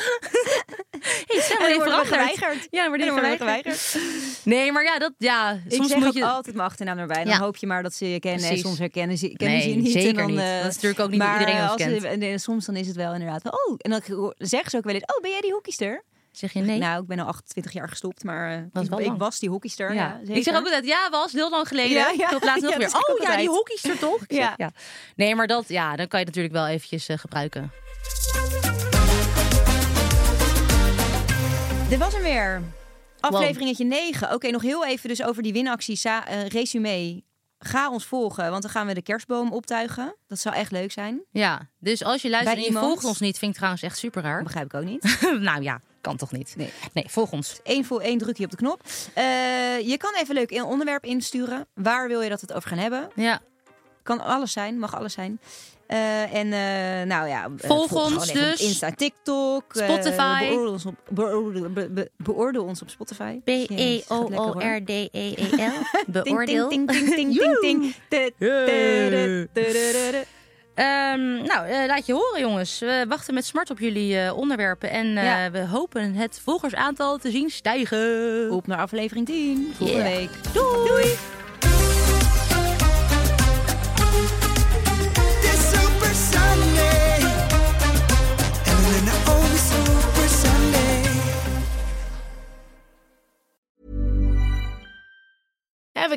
Speaker 3: hey, Sven,
Speaker 2: En
Speaker 3: je
Speaker 2: dan worden we
Speaker 3: veranderd.
Speaker 2: geweigerd.
Speaker 3: Ja, maar
Speaker 2: En
Speaker 3: die
Speaker 2: dan worden we
Speaker 3: Nee, maar ja, dat, ja
Speaker 2: ik
Speaker 3: soms
Speaker 2: zeg
Speaker 3: moet
Speaker 2: ook
Speaker 3: je...
Speaker 2: altijd mijn achternaam erbij. Dan
Speaker 3: Ja.
Speaker 2: hoop je maar dat ze je kennen.
Speaker 3: Precies.
Speaker 2: En soms herkennen ze, kennen ze je
Speaker 3: Nee,
Speaker 2: niet.
Speaker 3: zeker
Speaker 2: en dan,
Speaker 3: niet.
Speaker 2: eh,
Speaker 3: Dat is natuurlijk ook niet
Speaker 2: maar,
Speaker 3: iedereen ons
Speaker 2: eh, als
Speaker 3: kent.
Speaker 2: ze- en, eh, soms dan is het wel inderdaad. wel, Oh, en dan hoor- zeggen ze ook wel eens. Oh, ben jij die hockeyster?
Speaker 3: Zeg je nee?
Speaker 2: Nou, ik ben al 28 jaar gestopt, maar eh,
Speaker 3: Was
Speaker 2: ik,
Speaker 3: wel
Speaker 2: ik
Speaker 3: lang.
Speaker 2: was die hockeyster. Ja.
Speaker 3: ja. ik zeg ook altijd, ja, was heel lang geleden.
Speaker 2: Ja, ja.
Speaker 3: Tot laatst nog
Speaker 2: Ja,
Speaker 3: weer.
Speaker 2: dat zeg ik
Speaker 3: Oh
Speaker 2: ook
Speaker 3: ja, die
Speaker 2: altijd.
Speaker 3: hockeyster toch? Ik zeg,
Speaker 2: Ja.
Speaker 3: ja. Nee, maar dat, ja, dan kan je het natuurlijk wel eventjes eh, gebruiken.
Speaker 2: Dit was hem weer. Afleveringetje 9. Oké, nog heel even dus over die winactie. Sa- eh, resume. Ga ons volgen, want dan gaan we de kerstboom optuigen. Dat zou echt leuk zijn.
Speaker 3: Ja, dus als je luistert
Speaker 2: Bij
Speaker 3: en je
Speaker 2: iemand?
Speaker 3: volgt ons niet, vind ik trouwens echt super raar.
Speaker 2: Dat begrijp ik ook niet.
Speaker 3: nou ja, kan toch niet?
Speaker 2: Nee.
Speaker 3: nee volg ons.
Speaker 2: Eén voor één drukje op de knop. Eh, je kan even leuk een onderwerp insturen. Waar wil je dat we het over gaan hebben?
Speaker 3: Ja,
Speaker 2: Kan alles zijn, mag alles zijn. Eh, en eh, nou ja, eh,
Speaker 3: Volg
Speaker 2: gewoon
Speaker 3: ons
Speaker 2: even op
Speaker 3: dus.
Speaker 2: Insta, TikTok, eh,
Speaker 3: Spotify.
Speaker 2: beoordeel, ons op, beoordeel, be- be- beoordeel ons op Spotify. Jezus, gaat lekker, hoor.
Speaker 3: B-E-O-O-R-D-E-E-L.
Speaker 2: Ting,
Speaker 3: Beoordeel.
Speaker 2: ting, ting, ting, ting, ting, ting.
Speaker 3: Yay.
Speaker 2: Tudu, tudu, tudu.
Speaker 3: Ehm, nou, eh, laat je horen jongens. We wachten met smart op jullie eh, onderwerpen. En eh,
Speaker 2: Ja.
Speaker 3: we hopen het volgersaantal te zien stijgen.
Speaker 2: Op naar aflevering 10, volgende
Speaker 3: Yeah.
Speaker 2: week.
Speaker 3: Doei.
Speaker 1: This Super Sunday. And then I own Super Sunday.
Speaker 4: Ever